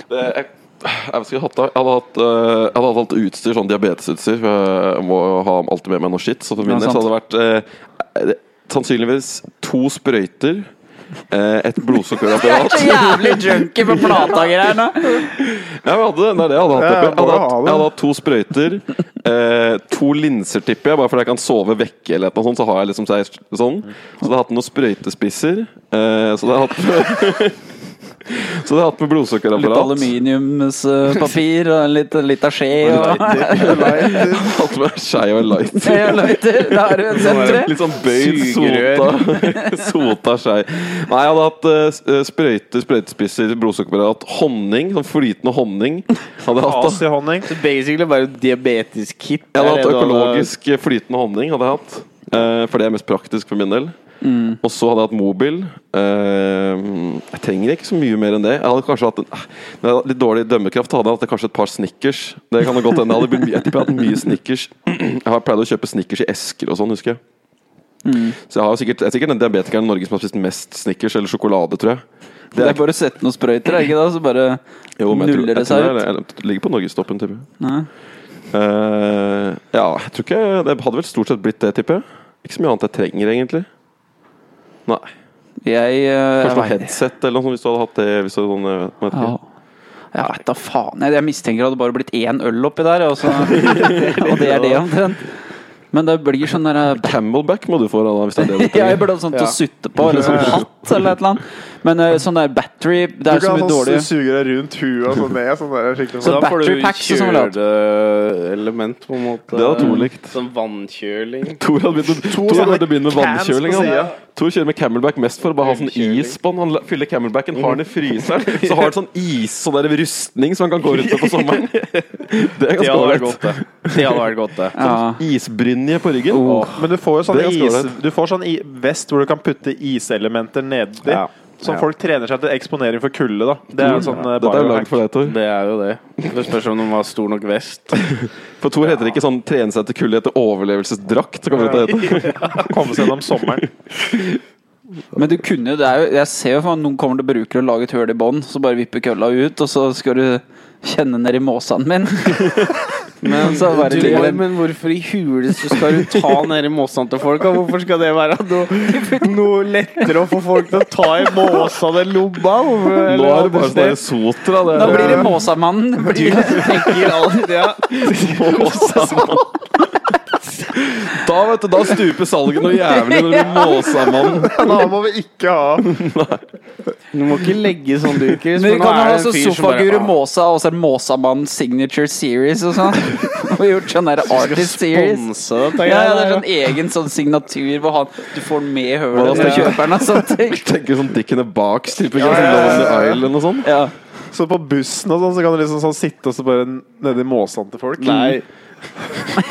[SPEAKER 2] Det, jeg, jeg, skulle hatt, det. jeg hadde hatt eh, Jeg hadde hatt alt utstyr, sånn diabetesutstyr. for Jeg må jo ha alltid med meg noe shit. Så for min
[SPEAKER 1] Ja,
[SPEAKER 2] del så
[SPEAKER 1] sant.
[SPEAKER 2] hadde det vært eh, eh, sannsynligvis to sprøyter, eh, et
[SPEAKER 1] Jeg er
[SPEAKER 2] blodsukkerapparat
[SPEAKER 1] så jævlig junkie på platagreier nå.
[SPEAKER 2] Ja, men hadde, det er det jeg hadde hatt.
[SPEAKER 3] Ja,
[SPEAKER 2] oppi. jeg, hadde
[SPEAKER 3] må jo
[SPEAKER 2] hatt
[SPEAKER 3] ha det.
[SPEAKER 2] jeg hadde hatt to sprøyter, eh, to linser, tipper jeg, bare fordi jeg kan sove vekke eller noe sånt. Så har jeg liksom så jeg- sånn. Så hadde jeg hatt noen sprøytespisser. Eh, så hadde jeg hatt Så hadde jeg hatt med
[SPEAKER 1] Litt
[SPEAKER 2] blodsukkerapparat.
[SPEAKER 1] aluminiumspapir og litt, litt av skje og
[SPEAKER 2] Hatt med skei og en lighter.
[SPEAKER 1] Ja, løyter. Da har du sett tre.
[SPEAKER 2] Litt sånn bøyd, sota, sota skei. Nei, jeg hadde hatt eh, s- eh, sprøyter, sprøytespisser, blodsukkerapparat, honning. Sånn flytende honning. Hadde jeg hatt, da.
[SPEAKER 3] Asihonning.
[SPEAKER 4] Så basically bare diabetisk kit.
[SPEAKER 2] jeg hadde
[SPEAKER 4] er det
[SPEAKER 2] hatt
[SPEAKER 4] du
[SPEAKER 2] økologisk eh, flytende honning, hadde jeg hatt. Eh, for det er mest praktisk for min del.
[SPEAKER 1] Mm.
[SPEAKER 2] Og så hadde jeg hatt mobil. Eh, jeg trenger ikke så mye mer enn det. Jeg hadde kanskje hatt en, eh, når jeg hadde Litt dårlig dømmekraft hadde jeg hatt kanskje et par Snickers. Det kan det godt hende. Jeg hadde blitt- Jeg tipper jeg hadde hatt mye Snickers. Jeg har pleid å kjøpe Snickers i esker og sånn, husker jeg.
[SPEAKER 1] Mm.
[SPEAKER 2] Så jeg, har jo sikkert, jeg er sikkert den diabetikeren i Norge som har spist mest Snickers eller sjokolade, tror jeg.
[SPEAKER 1] Det er bare å sette noen sprøyter, er det ikke det? Så bare
[SPEAKER 2] men jeg tror-
[SPEAKER 1] nuller det
[SPEAKER 2] jeg tror
[SPEAKER 1] seg
[SPEAKER 2] det
[SPEAKER 1] ut.
[SPEAKER 2] er- eller det ligger på norgestoppen, tipper jeg.
[SPEAKER 1] Nei.
[SPEAKER 2] Eh, ja, jeg tror ikke Det hadde vel stort sett blitt det, tipper jeg. Ikke så mye annet jeg trenger, egentlig. Nei.
[SPEAKER 1] Jeg, eh,
[SPEAKER 2] Kanskje noe
[SPEAKER 1] jeg vet-
[SPEAKER 2] headset eller noe sånt, hvis du hadde hatt det. Hvis du hadde sånn, eh, vet ikke.
[SPEAKER 1] Ja. Jeg vet da faen. Jeg, jeg mistenker det hadde bare blitt én øl oppi der, og, så, og det er det omtrent. Men det blir sånn der
[SPEAKER 2] Camelback må du få, da, hvis det er det du
[SPEAKER 1] Ja, jeg
[SPEAKER 2] trenger.
[SPEAKER 1] burde ha sånt å sutte på, eller sånn hatt eller et eller annet. Men eh, sånn der battery Det
[SPEAKER 3] Du
[SPEAKER 1] er så
[SPEAKER 3] kan
[SPEAKER 1] mye
[SPEAKER 3] sånn
[SPEAKER 1] dårlig
[SPEAKER 3] suge deg rundt huet og sånn ned. Sånn der, skikkelig.
[SPEAKER 4] Så da får
[SPEAKER 1] battery
[SPEAKER 4] du
[SPEAKER 1] packs og sånn vel, ja.
[SPEAKER 4] kjøleelement, på en måte.
[SPEAKER 2] Det hadde Tor likt.
[SPEAKER 4] Sånn vannkjøling.
[SPEAKER 2] Tor hadde begynt, Tor
[SPEAKER 3] sånne
[SPEAKER 2] hadde begynt med
[SPEAKER 3] cans på
[SPEAKER 2] vannkjøling. Han.
[SPEAKER 3] siden.
[SPEAKER 2] Tor kjører med Camelback mest for å bare ha sånn
[SPEAKER 4] Ølkjøling.
[SPEAKER 2] is på den. Han la- fyller Camelbacken, har den i fryseren. Så har han sånn is, sånn der rustning som han kan gå rundt med på sommeren. Det er ganske
[SPEAKER 4] Det hadde vært
[SPEAKER 2] ålreit.
[SPEAKER 4] godt, det. Det hadde vært godt, det.
[SPEAKER 1] Ja.
[SPEAKER 2] Isbrynje på ryggen.
[SPEAKER 1] Oh.
[SPEAKER 3] Men du får jo sånn,
[SPEAKER 2] Det er ganske
[SPEAKER 3] is,
[SPEAKER 2] ålreit.
[SPEAKER 3] du får sånn i, vest hvor du kan putte iselementer nedi.
[SPEAKER 4] Ja.
[SPEAKER 3] Som
[SPEAKER 4] Ja.
[SPEAKER 3] folk trener seg til eksponering for kulde, da. Det er jo sånn eh,
[SPEAKER 2] Dette er jo
[SPEAKER 3] biohack.
[SPEAKER 2] langt for deg, Tor.
[SPEAKER 4] Det er jo det. Det spørs om den var stor nok vest.
[SPEAKER 2] For Tor heter ikke sånn 'trene seg til kulde' etter overlevelsesdrakt. Så kommer det til å hete
[SPEAKER 3] komme seg gjennom sommeren.
[SPEAKER 1] Men du kunne jo, det er jo Jeg ser jo for meg noen kommer til å bruke det og lage et hull i bånn, så bare vipper kølla ut, og så skal du kjenne ned i måsene min. Men så bare
[SPEAKER 4] Du,
[SPEAKER 1] ligger den
[SPEAKER 4] men hvorfor i huleste skal du ta nedi måsene til folk? og Hvorfor skal det være noe, noe lettere å få folk til å ta i måsene enn lomma? Hvorfor,
[SPEAKER 2] Nå
[SPEAKER 4] eller
[SPEAKER 2] er det bare sånn
[SPEAKER 4] andre
[SPEAKER 2] der sotra. Det
[SPEAKER 1] Da
[SPEAKER 2] er
[SPEAKER 1] blir det Måsamannen. Det blir-
[SPEAKER 4] tenker alle- ja.
[SPEAKER 2] Måsamann. Da vet du, da stuper salget noe jævlig når det blir Måsamann.
[SPEAKER 3] Da må vi ikke ha
[SPEAKER 4] Du må ikke legge sånn du, Chris.
[SPEAKER 1] Men vi
[SPEAKER 4] for nå
[SPEAKER 1] kan
[SPEAKER 4] er
[SPEAKER 1] ha
[SPEAKER 4] det en
[SPEAKER 1] sånn
[SPEAKER 4] fyr som bare,
[SPEAKER 1] Sofaguru
[SPEAKER 4] ah,
[SPEAKER 1] Måsa og så er det Måsamann Signature Series og sånn. Og gjort sånn der Artist Series.
[SPEAKER 4] Sponse dette.
[SPEAKER 1] Ja, ja, det er
[SPEAKER 4] greiene
[SPEAKER 1] sånn egen sånn signatur hvor han, du får den med i
[SPEAKER 2] Hvordan
[SPEAKER 1] hølet på
[SPEAKER 2] skal-
[SPEAKER 1] kjøperen og sånne ting.
[SPEAKER 2] Tenker sånn Dick in the Box, type
[SPEAKER 3] Ja, ja, ja, ja, ja.
[SPEAKER 2] Lonely Island og sånn.
[SPEAKER 1] Ja.
[SPEAKER 3] Så på bussen og sånn, så kan du liksom sånn sitte og så bare nedi måsene til folk.
[SPEAKER 4] der. Nei.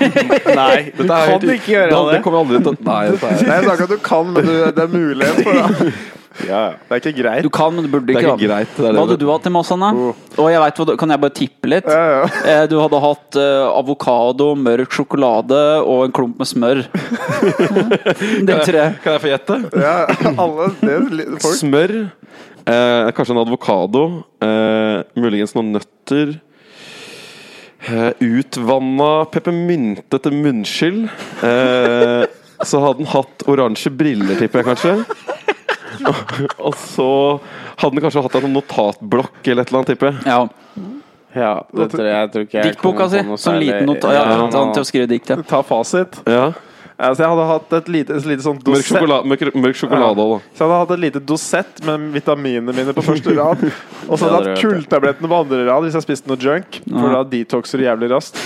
[SPEAKER 4] Nei, du
[SPEAKER 2] Dette er
[SPEAKER 4] kan
[SPEAKER 2] helt-
[SPEAKER 4] ikke gjøre
[SPEAKER 2] Da-
[SPEAKER 4] det.
[SPEAKER 2] kommer jeg aldri til å Nei, dette er
[SPEAKER 3] Nei, jeg sa ikke at du kan, men du, det er mulighet for det. Det er ikke greit.
[SPEAKER 1] Du kan, men du burde
[SPEAKER 2] Det er
[SPEAKER 1] ikke.
[SPEAKER 2] ikke
[SPEAKER 1] da.
[SPEAKER 2] greit, det er det.
[SPEAKER 1] Hva hadde du hatt til Måsan, da?
[SPEAKER 4] Oh.
[SPEAKER 1] Og jeg vet, hva du- kan jeg bare tippe litt?
[SPEAKER 3] Ja,
[SPEAKER 1] Eh, Du hadde hatt eh, avokado, mørk sjokolade og en klump med smør. Det tror jeg.
[SPEAKER 2] Kan jeg få gjette?
[SPEAKER 3] ja. ja, alle det, er li- folk.
[SPEAKER 2] Smør. Eh, kanskje en avokado. Eh, muligens noen nøtter. Eh, utvanna peppermynte til munnskyld. Eh, så hadde den hatt oransje briller, tipper jeg kanskje. Og så hadde den kanskje hatt en notatblokk eller et eller annet, tipper jeg.
[SPEAKER 1] Ja.
[SPEAKER 4] Ja, det tror jeg, jeg tror ikke jeg
[SPEAKER 1] Diktboka
[SPEAKER 4] kommer
[SPEAKER 1] si.
[SPEAKER 4] på noe
[SPEAKER 1] Sånn
[SPEAKER 4] særlig-
[SPEAKER 1] liten not Ja,
[SPEAKER 4] Ja,
[SPEAKER 1] han til å skrive dikt, ja.
[SPEAKER 3] Ta fasit.
[SPEAKER 2] Ja.
[SPEAKER 3] Altså, jeg hadde hatt et lite, et lite sånn
[SPEAKER 2] Mørk
[SPEAKER 3] dosett.
[SPEAKER 2] sjokolade, mørk, mørk sjokolade også, da.
[SPEAKER 3] Så jeg hadde hatt et lite dosett med vitaminene mine på første rad. Og
[SPEAKER 4] Ja, det
[SPEAKER 3] så hadde jeg
[SPEAKER 4] vet
[SPEAKER 3] hatt
[SPEAKER 4] jeg.
[SPEAKER 3] kulltablettene på andre rad hvis jeg spiste noe junk. For da detoxer du jævlig raskt.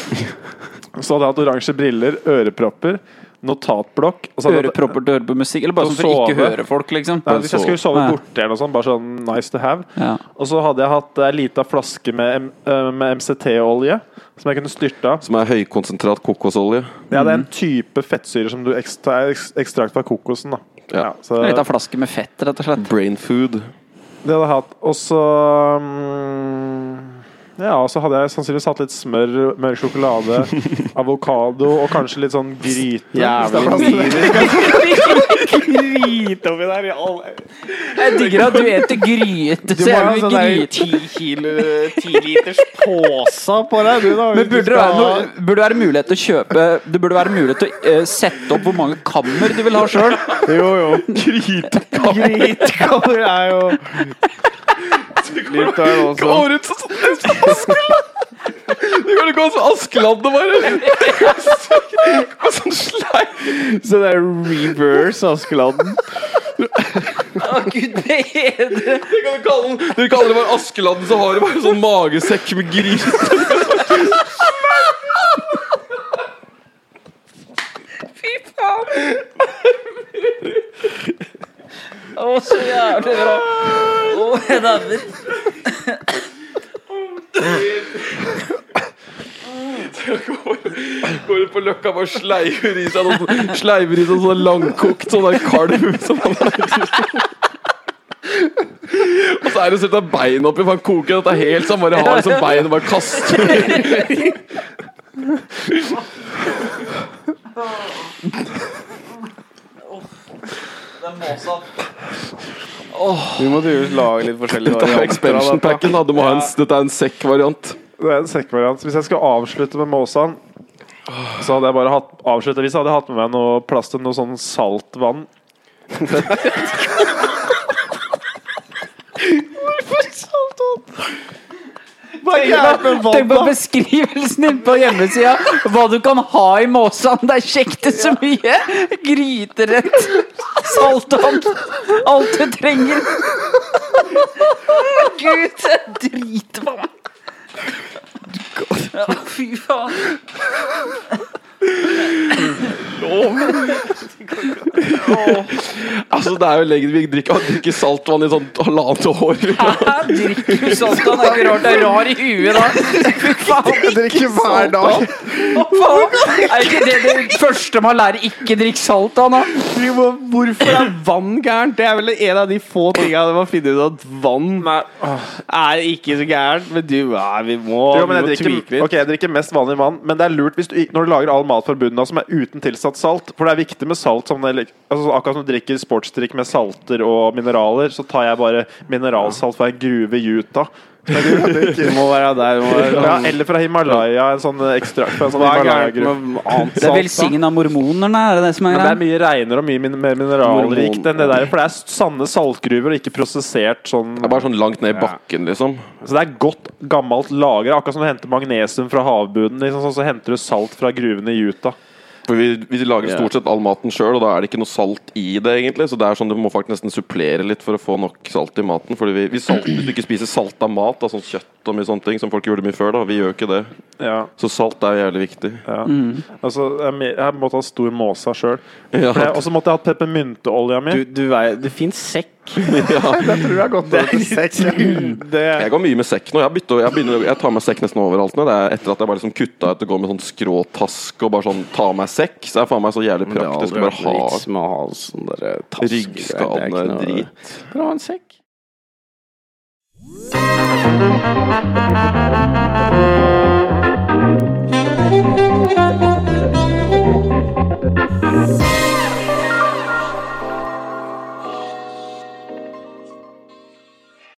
[SPEAKER 3] Så hadde jeg hatt oransje briller, ørepropper, notatblokk. og så hadde jeg-
[SPEAKER 1] Ørepropper til å høre på musikk? Eller bare
[SPEAKER 3] Til å
[SPEAKER 1] sånn for å ikke
[SPEAKER 3] sove.
[SPEAKER 1] høre folk, liksom?
[SPEAKER 3] Nei, hvis jeg skulle sove
[SPEAKER 1] Nei.
[SPEAKER 3] borte eller noe sånt, bare sånn nice to have.
[SPEAKER 1] Ja.
[SPEAKER 3] Og så hadde jeg hatt ei lita flaske med, M- eh, med MCT-olje som jeg kunne styrte av. Mm.
[SPEAKER 2] Som er høykonsentrat kokosolje.
[SPEAKER 3] Ja, det er en type fettsyre som du ekstra, eks- ekstrakt fra kokosen. da
[SPEAKER 2] Ja.
[SPEAKER 3] så
[SPEAKER 1] En
[SPEAKER 3] det
[SPEAKER 1] liten flaske med fett, rett og slett.
[SPEAKER 2] Brain food.
[SPEAKER 3] hadde jeg hatt. Og så mm, Ja, og så hadde jeg sannsynligvis hatt litt smør, mørk sjokolade, avokado og kanskje litt sånn gryte.
[SPEAKER 4] Jævlig mye drit oppi der. i all-
[SPEAKER 1] Jeg digger at du eter
[SPEAKER 4] Du
[SPEAKER 1] gryte, så
[SPEAKER 4] må
[SPEAKER 1] jeg
[SPEAKER 4] ha en
[SPEAKER 1] vil
[SPEAKER 4] sånn der
[SPEAKER 1] gryte.
[SPEAKER 4] ti kilo, ti liters påse på deg, du, da. hvis du
[SPEAKER 1] Men burde det,
[SPEAKER 4] skal
[SPEAKER 1] være
[SPEAKER 4] ha-
[SPEAKER 1] noe, burde det være mulighet til å kjøpe Det burde være mulighet til å eh, sette opp hvor mange kammer du vil ha sjøl.
[SPEAKER 4] Jo, jo. Grytekammer er jo Litt der også.
[SPEAKER 2] Årets Du kan ikke ha sånn Askeladdet, bare! Med sånn sleip
[SPEAKER 4] Så det er reverse Askeladden.
[SPEAKER 1] Å, Gud bedre!
[SPEAKER 2] Du kan kalle den Dere kaller det bare Askeladden, så har du bare sånn magesekk med gris.
[SPEAKER 1] Fy faen! Å, så jævlig bra. Å, jeg dauer.
[SPEAKER 2] Går ut på løkka og bare sleiver i seg noen Sleiver i seg sånn langkokt sånn der kalv som han Og så er det å sette beina oppi, for han koker dette helt så han bare har det som bein og bare kaster
[SPEAKER 4] Vi må tydeligvis lage litt forskjellige
[SPEAKER 2] Dette er expansion
[SPEAKER 4] dette.
[SPEAKER 2] packen, da. Du må ha en, dette er en sekk-variant.
[SPEAKER 3] Det er en sekkvariant. Hvis jeg skal avslutte med måsan, så hadde jeg bare hatt, avsluttet, hvis jeg hadde hatt med meg noe plass til noe sånn saltvann.
[SPEAKER 4] Hva er gærent med
[SPEAKER 1] Tenk på
[SPEAKER 4] vann, da?
[SPEAKER 1] beskrivelsen din på hjemmesida. Hva du kan ha i måsen. Det er kjekt det så mye. Gryterett, saltvann. Alt du trenger. Gud, jeg driter på meg. Å, fy faen.
[SPEAKER 2] Altså, det er jo lenge vi drikker, drikker saltvann i sånn halvannet år.
[SPEAKER 1] Hæ? Drikker du saltvann? Det er ikke rart det er rar i huet da. Fy faen.
[SPEAKER 4] Jeg drikker hver dag.
[SPEAKER 1] Hva faen? Er ikke det det første man lærer? Ikke drikk saltvann, da.
[SPEAKER 4] Vi må- Hvorfor er vann gærent? Det er vel en av de få tinga det var funnet ut at vann er ikke så gærent. Men du, nei, vi må,
[SPEAKER 3] Jo,
[SPEAKER 4] vi
[SPEAKER 3] men
[SPEAKER 4] må
[SPEAKER 3] jeg
[SPEAKER 4] tweake
[SPEAKER 3] drikker,
[SPEAKER 4] litt.
[SPEAKER 3] ok, jeg drikker mest vanlig vann, men det er lurt hvis du, ikke- når du lager all mat fra bunnen av som er uten tilsatt salt. For det er viktig med salt som det, er lik- altså, Akkurat som du drikker sportsdrikk med salter og mineraler, så tar jeg bare mineralsalt fra en gruve i Utah.
[SPEAKER 4] Det må være der. det Må være
[SPEAKER 3] Ja, eller fra Himalaya, en sånn ekstrakt fra en sånn
[SPEAKER 4] Hva er gærent
[SPEAKER 3] Himalaya-gruve.
[SPEAKER 4] med annet
[SPEAKER 1] Det er
[SPEAKER 4] salt? da?
[SPEAKER 1] velsigna mormonerne, er det det som er
[SPEAKER 3] Men det
[SPEAKER 1] greia?
[SPEAKER 3] er mye reinere og mye min mer mineralrikt enn det der. For det er sanne saltgruver og ikke prosessert sånn
[SPEAKER 2] Det er bare sånn langt ned i bakken, liksom.
[SPEAKER 3] Så det er godt gammelt lager. Akkurat som du henter magnesium fra havbunnen. Liksom, sånn, så henter du salt fra gruvene i Utah.
[SPEAKER 2] For vi, vi lager stort sett all maten sjøl, og da er det ikke noe salt i det, egentlig. Så det er sånn du må faktisk nesten supplere litt for å få nok salt i maten. Fordi vi, vi salt, hvis du ikke spiser salta mat, da, sånn kjøtt og mye sånne ting, som folk gjorde mye før, da, vi gjør jo ikke det.
[SPEAKER 3] Ja,
[SPEAKER 2] Så salt er jævlig viktig.
[SPEAKER 3] ja. Altså, jeg, me- jeg måtte ha stor måsa sjøl.
[SPEAKER 2] Ja.
[SPEAKER 3] Og så måtte jeg hatt peppermynteolja mi.
[SPEAKER 4] Du, du vei- det fins sekk.
[SPEAKER 3] tror jeg godt det,
[SPEAKER 2] Jeg går mye med sekk nå. Jeg, bytter, jeg, begynner, jeg tar med sekk nesten overalt nå. Det er etter at jeg bare liksom kutta ut og går med sånn skråtaske og bare sånn tar meg sekk. Så det er faen meg så jævlig praktisk å bare ha
[SPEAKER 4] med å ha sånn der taske-
[SPEAKER 2] ryggskadende
[SPEAKER 4] Det er ikke noe-
[SPEAKER 2] drit.
[SPEAKER 4] Bare ha en sekk.